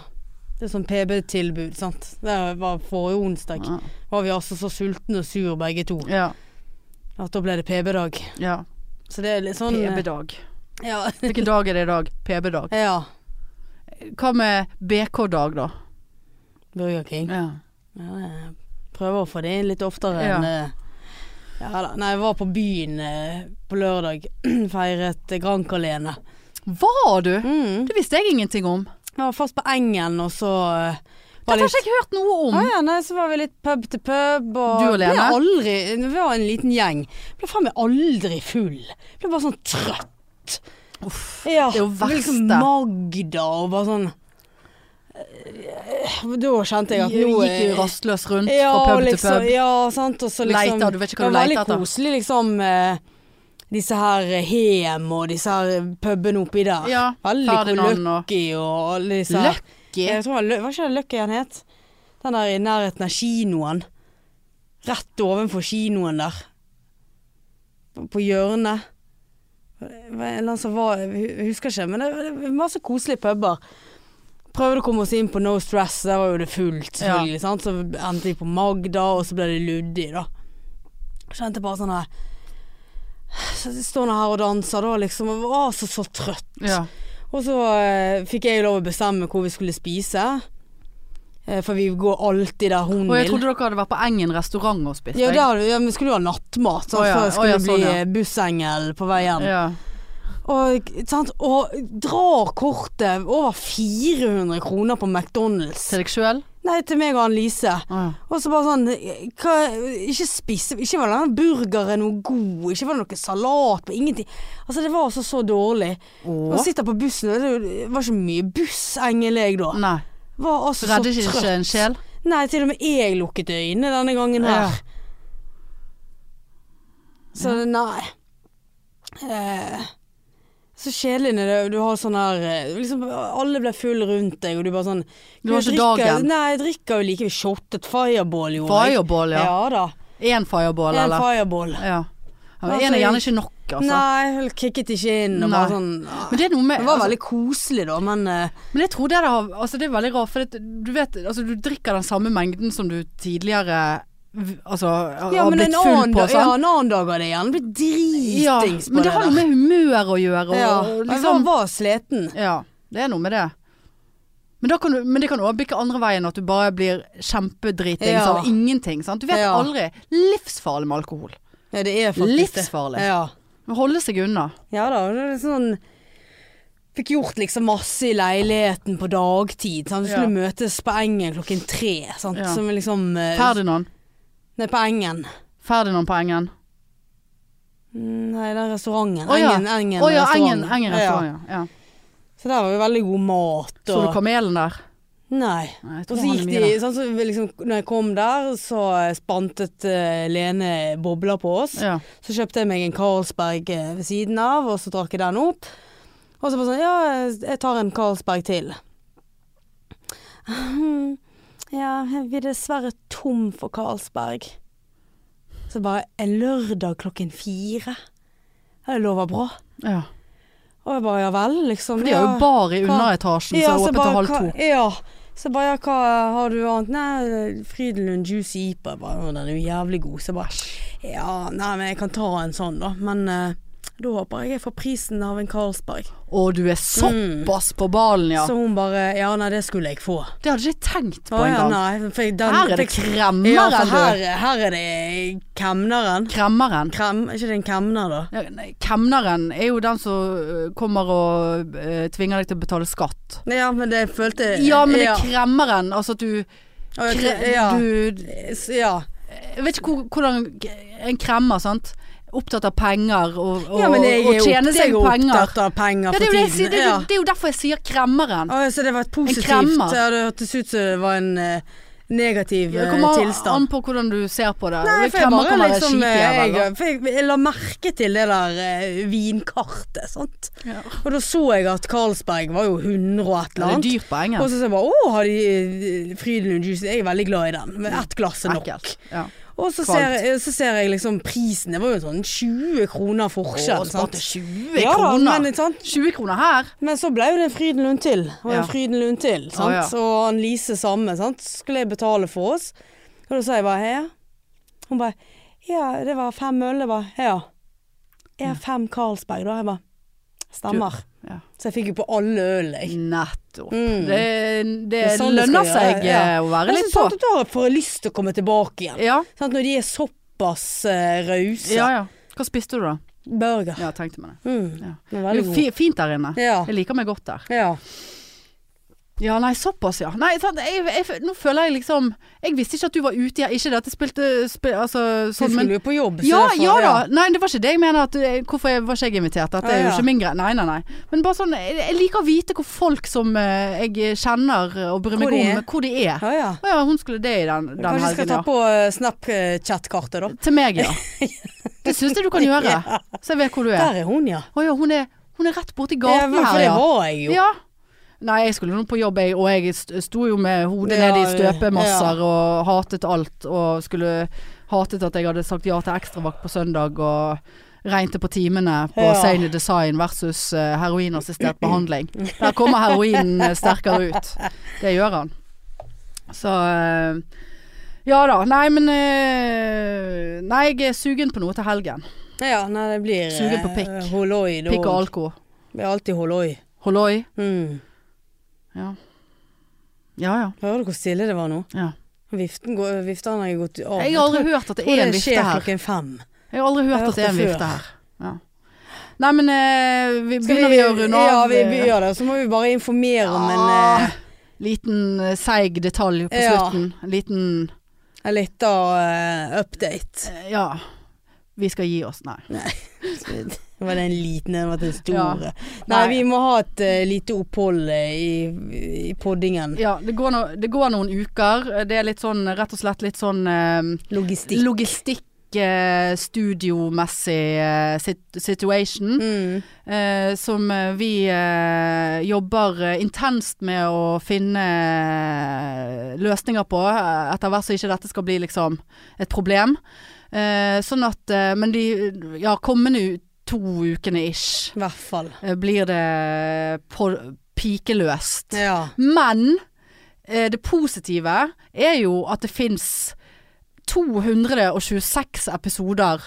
Det er sånn PB-tilbud, sant. Det var forrige onsdag. Ja. Var vi altså så sultne og sur begge to Ja. at da ble det PB-dag. ja. Så det er litt sånn PB-dag. Ja. Hvilken dag er det i dag? PB-dag. ja. Hva med BK-dag, da? Burger King. Ja. Ja, jeg prøver å få det inn litt oftere Ja. enn eh, ja, da. Nei, jeg var på byen eh, på lørdag. Feiret eh, Grankalene. Var du? Mm. Det visste jeg ingenting om. Jeg var først på Engen, og så eh, Dette var har litt ikke jeg hørt noe om. ah, ja, nei, Så var vi litt pub til pub. Og Du alene? Ble aldri, vi var en liten gjeng. Ble faen meg aldri full. Ble bare sånn trøtt. Uff. Ja, Det er jo ble Liksom verste. Magda og bare sånn eh, Da kjente jeg at Du nå gikk jo eh, rastløs rundt ja, fra pub liksom, til pub. Ja, sant. Og så liksom Leter, du vet ikke hva du Det leter var etter. veldig koselig, liksom. eh, disse her eh, Hem og disse her eh, pubene oppi der. Ja, veldig Ferdinand og- Lucky og alle disse her. Lucky? Jeg tror det var Lø- Var ikke det Lucky han het? Den der i nærheten av kinoen. Rett ovenfor kinoen der. På- På hjørnet. Det var En eller annen som var Jeg husker ikke, men det var masse koselige puber. Prøvde å komme oss inn på No Stress, der var jo det fullt, selvfølgelig. Sant? Så endte vi på Magda, og så ble det Luddi, da. Kjente bare sånn her Så Står nå her og danser, da, liksom. Og var så, så trøtt. Ja. Og så eh, fikk jeg lov å bestemme hvor vi skulle spise. Eh, for vi går alltid der hun Og jeg vil. trodde dere hadde vært på Engen restaurant og spist. Ja, jeg. der, ja, vi skulle jo ha nattmat, sant? Å ja, for å det skulle ja, sånn, bli ja. eh, bussengel på vei hjem. ja. Og, sant? og drar kortet over 400 kroner på McDonald's. Til deg sjøl? Nei, til meg og Annelise. Å ja. Og så bare sånn hva, Ikke spise Ikke var den burgeren noe god, ikke var det noe salat på ingenting. Altså, det var altså så dårlig. Og Å? sitter på bussen, og det er jo- det var ikke mye bussengel jeg da. Nei. Var altså så Redder ikke trøtt. en sjel? Nei, til og med jeg lukket øynene denne gangen her. Ja. Så nei. Eh, så kjedelig når det- du har sånn her eh, liksom, Alle ble full rundt deg, og du bare sånn Du har jeg drikker- ikke dagen. Nei, jeg drikker jo like Shottet fireball, gjorde Fireball, ja. Ja da. Én fireball, En eller? fireball. Ja. Ja, men Altså, Én er gjerne ikke nok, altså. Nei, jeg kicket ikke inn og Nei. bare sånn nei. Men det er noe med Det var altså, veldig koselig da, men eh, Men jeg tror det, der har- altså det er veldig rart, for det, du vet altså du drikker den samme mengden som du tidligere v- altså, har- Ja, har men en blitt full annen, på. dag, ja, Sant? en annen dag har det gjerne blitt Ja, dritings på men det har der. noe med humør å gjøre. Og, Ja, og men han liksom, var sliten. ja, det er noe med det. Men, da kan du, men det kan òg bikke andre veien, at du bare blir kjempedritings Ja. av ingenting. Sant? Du vet Ja. aldri. Livsfarlig med alkohol. Ja, det er faktisk Livsfarlig. det. Ja. Må Holde seg unna. ja da, det er sånn Fikk gjort liksom masse i leiligheten på dagtid. Sant? Vi skulle møtes på Engen klokken tre. Sant? Ja. Som liksom eh, Ferdinand. Nei, på Engen. Ferdinand på Engen. Mm, Nei, den restauranten. Å ja. Engen, Engen Å ja, restaurant. Engen, Engen restaurant. Ja. Ja. Ja. Så der var jo veldig god mat Så du og kamelen der? Nei. Nei, jeg Og tror så han gikk er mye de der. sånn, så vi liksom, Når jeg kom der, så spantet eh, Lene bobler på oss. Ja. Så kjøpte jeg meg en Carlsberg eh, ved siden av, og så drakk jeg den opp. Og så bare sånn Ja, jeg tar en Carlsberg til. Ja, vi er dessverre tom for Karlsberg. Så bare en lørdag klokken fire. Det lover bra. Ja. Og jeg bare ja vel, liksom. For de har jo ja. bar i hva- altså, underetasjen som er åpen til halv to. Hva, ja. Så bare ja, hva har du annet? Nei, Frydenlund Juicy Ipa. Jeg Bare, «Å, den er jo jævlig god. Så jeg bare ja, nei, men jeg kan ta en sånn, da. Men eh, da håper jeg jeg får prisen av en Karlsberg. Å, du er såpass på ballen, ja. Så hun bare ja, nei, det skulle jeg få. Det hadde jeg ikke tenkt på Å, ja, engang. nei, for jeg- den, Her er det fikk- kremmeren, Ja, for du. her, her er det kemneren. Kremmeren. Krem, er ikke det en kemner, da? Ja, nei, Kemneren er jo den som øh, kommer og øh, tvinger deg til å betale skatt. Nei, Ja, men det følte Ja, men det ja. er kremmeren. Altså at du, Å, jeg kre, kre- ja. du S- ja. Jeg vet ikke hvor- hvordan en kremmer, sant. Opptatt av penger og, og, ja, men jeg og er jo tjene jeg er seg jo penger. opptatt av penger Ja, det, er for jo det, jeg tiden. sier, det, er ja. jo, det er jo derfor jeg sier kremmeren. Å, så det var et positivt kremmer. ja, Det hørtes ut som det var en eh, negativ Det eh, kommer an- an tilstand. på hvordan du ser på det. Nei, for jeg kremmer bare kan være liksom skip eh, jævel, da. jeg, for jeg, jeg la merke til det der eh, vinkartet, sant. Ja. Og da så jeg at Carlsberg var jo 100 og et Det eller er annet. dyrt på Og engelsk. så sa jeg bare å, har de eh, Frydenlund Juice? Jeg er veldig glad i den. Men Ett glass er nok. Ekkelt. Ja. Og så ser, Kvalmt. jeg- så ser jeg liksom prisen, det var jo sånn 20 kroner forskjell. Å, sant? sparte 20 Ja da, kroner. men, sant? 20 kroner her. men så ble jo det en Frydenlund til, og en Ja. Frydenlund til. Sant? Å, ja. Og han Lise samme, sant. Skulle jeg betale for oss? Og da sa jeg bare ja. Hun bare ja, det var fem øl, det var ja. Ja, fem Carlsberg, da. Jeg bare stemmer. Ja. Så jeg fikk jo på alle ølene, jeg. Nettopp. Mm. Det, det, er sånn det skal lønner gjøre, seg ja. eh, å være Men litt så på. sant at da får jeg lyst til å komme tilbake igjen. Ja, Sant? Når de er såpass eh, rause. ja, ja. Hva spiste du da? Burger. Ja, tenkte meg det. Mm. Ja. Den er Det er veldig jo god. fi- fint sånn, der inne. Ja. Jeg liker meg godt der. ja. Ja, nei, såpass, ja. Nei, sant, jeg, jeg, nå føler jeg liksom Jeg visste ikke at du var ute igjen. Ikke det at jeg spilte spi- Altså Du sånn, men skulle jo på jobb, så ja, derfor- ja da! Nei, det var ikke det jeg mener. At, eh, hvorfor jeg- var ikke jeg invitert? At det er jo Ah, ja. ikke min greie. Nei, nei, nei. Men bare sånn Jeg, jeg liker å vite hvor folk som eh, jeg kjenner og bryr meg Hvor de om, er. hvor de er. Ja, ja. Å ja, hun skulle det i den, den Kanskje vi skal helgen, ta ja. på eh, Snapchat-kartet, da. Til meg, ja. Det syns jeg du kan gjøre. Så jeg vet hvor du er. Der er hun, ja. Å ja, hun er, hun er rett borti Ja, gaten men for her, det ja. var jeg jo. Ja. Nei, jeg skulle nå på jobb, jeg, og jeg st- sto jo med hodet Ja, nede i støpemasser og hatet alt. Og skulle hatet at jeg hadde sagt ja til ekstravakt på søndag og regnet på timene på Ja. Sane Design versus eh, heroinassistert behandling. Der kommer heroinen eh, sterkere ut. Det gjør han. Så eh, Ja da. Nei, men eh, Nei, jeg er sugen på noe til helgen. Ja, nei, det blir eh, Sugen på pikk. Holoi. da. Pikk og alko. Det blir alltid holoi. Holloi. Mm. Ja. Ja ja. Hører du hvor stille det var nå? ja. Viften, går, viften har jeg gått av. Jeg har aldri hørt at det er en vifte skjer her. klokken fem. Jeg har aldri hørt Jeg at det er en hørte vifte her. Ja. Nei, men eh, vi begynner vi å runde av? Ja, vi vi gjør det. Så må vi bare informere om en, Ja. eh, Liten eh, seig detalj på Ja. slutten. Liten en liten eh, update. eh, Ja. Vi skal gi oss, nei. Var det en liten en? Var det en stor? Ja. Nei, Nei. vi må ha et eh, lite opphold eh, i, i poddingen. Ja, det går, no, det går noen uker. Det er litt sånn, rett og slett litt sånn eh, Logistikk. logistikk. eh, Studiomessig eh, sit- situation Mm. eh, som eh, vi eh, jobber eh, intenst med å finne eh, løsninger på, eh, etter hvert så ikke dette skal bli liksom et problem. Eh, sånn at eh, Men de ja, kommende u- to ukene ish I hvert fall. eh, blir det eh, på, pikeløst. Ja. Men eh, det positive er jo at det fins 226 episoder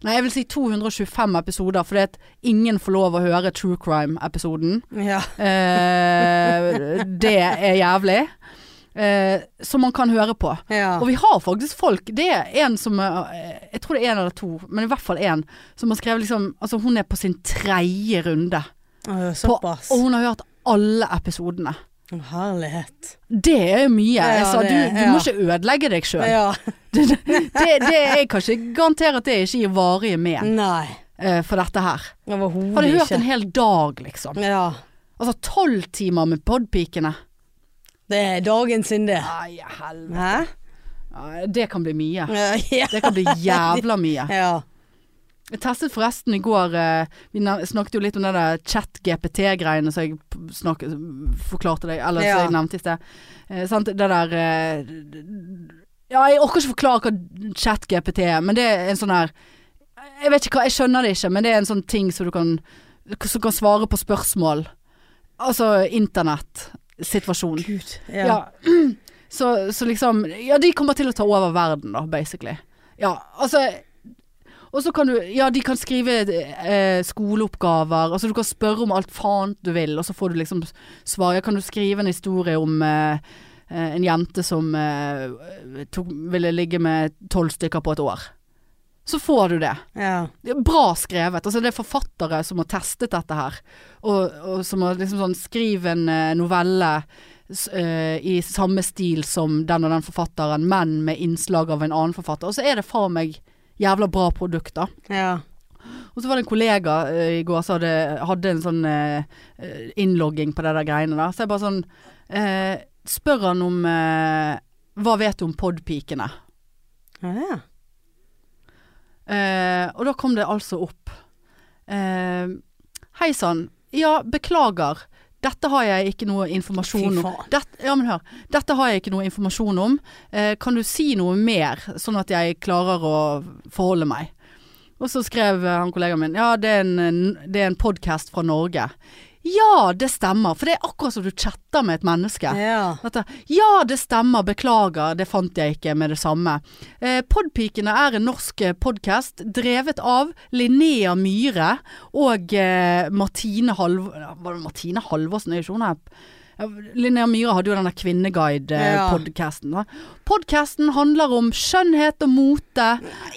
Nei, jeg vil si 225 episoder, fordi at ingen får lov å høre true crime-episoden. ja. Eh, det er jævlig. Eh, som man kan høre på. ja. Og vi har faktisk folk Det er en som eh, Jeg tror det er en eller to, men i hvert fall en som har skrevet liksom Altså, hun er på sin tredje runde. Å, På, Såpass. og hun har hørt alle episodene. Å, Herlighet. Det er jo mye. Ja, jeg sa, det- du, du må ja. ikke ødelegge deg sjøl. Ja. Det, det, det, jeg kan ikke garantere at det ikke gir varige men Nei. eh, for dette her. Overhodet Mm. ikke. Mm. Hadde hørt en hel dag, liksom. Ja. Altså tolv timer med podpikene. Det er dagen sin, det. Nei, helvete. Hæ? Nei, Det kan bli mye. Ja. Det kan bli jævla mye. ja. Jeg testet forresten i går eh, Vi nav- snakket jo litt om det der chat-GPT-greiene som jeg p- snak, forklarte deg, eller Ja. som jeg nevnte i sted. Eh, sant? Det der eh, Ja, jeg orker ikke forklare hva chat-GPT er, men det er en sånn her Jeg vet ikke hva, jeg skjønner det ikke, men det er en sånn ting som du kan Som kan svare på spørsmål. Altså internett-situasjonen. Gud. Ja. Ja. Så, så liksom Ja, de kommer til å ta over verden, da, basically. Ja, altså Og så kan du Ja, de kan skrive eh, skoleoppgaver. Altså, du kan spørre om alt faen du vil, og så får du liksom svar. Ja, kan du skrive en historie om eh, eh, en jente som eh, tok, ville ligge med tolv stykker på et år? Så får du det. ja. Det er bra skrevet. Altså, det er forfattere som har testet dette her. Og, og som har liksom sånn Skriv en eh, novelle s- eh, i samme stil som den og den forfatteren, men med innslag av en annen forfatter. Og så er det faen meg jævla bra produkt, da. ja. Og så var det en kollega eh, i går som hadde, hadde en sånn eh, eh, innlogging på det der greiene der. Så jeg bare sånn eh, Spør han om eh, Hva vet du om podpikene? ja, ja. Eh, og da kom det altså opp. Eh, Hei sann. Ja, beklager. Dette har jeg ikke noe Fy informasjon om. faen. Dette, ja, men hør. Dette har jeg ikke noe informasjon om. Eh, kan du si noe mer, sånn at jeg klarer å forholde meg? Og så skrev eh, han kollegaen min ja, det er en, en- det er en podkast fra Norge. Ja, det stemmer, for det er akkurat som du chatter med et menneske. Ja. Dette, ja, det stemmer, beklager, det fant jeg ikke med det samme. Eh, Podpikene er en norsk podkast drevet av Linnea Myhre og eh, Martine Halv... Var det Martine Halvorsen? Er ikke hun her? Ja, Linnea Myhre hadde jo eh, den der Ja. kvinneguide-podkasten. Podkasten handler om skjønnhet og mote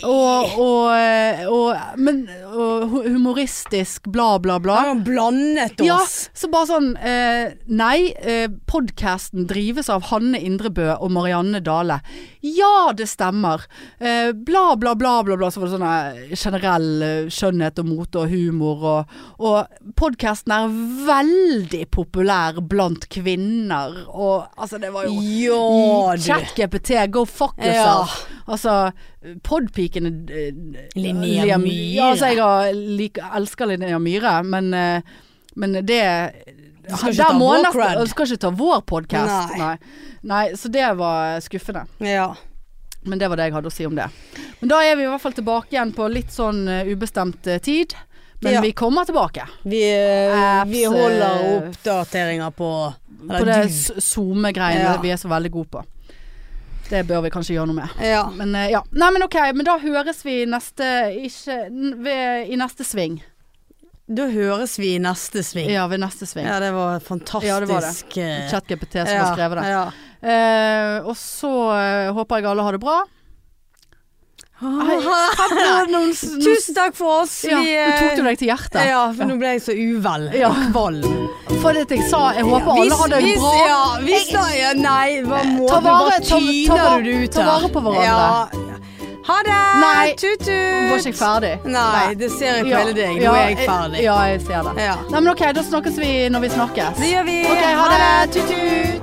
og, og, eh, og, men, og hu- humoristisk bla, bla, bla. Han har blandet oss. Ja, så bare sånn eh, Nei, eh, podkasten drives av Hanne Indrebø og Marianne Dale. Ja, det stemmer. Eh, bla, bla, bla, bla, bla. Så var det sånn eh, generell eh, skjønnhet og mote og humor og Og podkasten er veldig populær blant kvinner og Altså, det var jo Ja, du. ChatGPT, go fuck yourself. Altså, podpikene eh, Linnea Liam- Myhre. Ja, altså, jeg har lik, elsker Linnea Myhre, men, eh, men det Du skal ikke Der ta må vår nesten- cred. Du skal ikke ta vår podkast. Nei. Nei. Nei, så det var skuffende. Ja. Men det var det jeg hadde å si om det. Men da er vi i hvert fall tilbake igjen på litt sånn eh, ubestemt eh, tid. Men Ja. vi kommer tilbake Vi, eh, Apps, vi holder eh, oppdateringer på på eller det du. SoMe-greiene Ja. vi er så veldig gode på. Det bør vi kanskje gjøre noe med. Ja. Men eh, ja. Nei, men ok, men da høres vi neste, ikke, n- ved, i neste sving. Da høres vi i neste sving. Ja, ved neste sving. Ja, det var fantastisk. Ja, det var det. eh, ChatGPT som ja, har skrevet det. Ja. Eh, og så eh, håper jeg alle har det bra. Tusen takk for oss. Ja, Vi, Nå tok du eh, deg til hjertet. Ja, for nå ble jeg så uvel. Ja. og Kvalm. For det jeg sa, jeg håper alle har det Hvis- hvis- bra. Ja, hvis da, ja, nei, hva må Ta du bare vare- ta- ta tyner vare- du det ut ta her. vare på hverandre. Ja. Ha det! Nei. Var ikke jeg Tut-tut! ferdig? Nei, det ser jeg på hele deg. Nå er jeg ferdig. Ja, jeg ser det. Ja. Nei, men ok, da snakkes vi når vi snakkes. Det gjør vi. Ok, ha det. Tut-tut!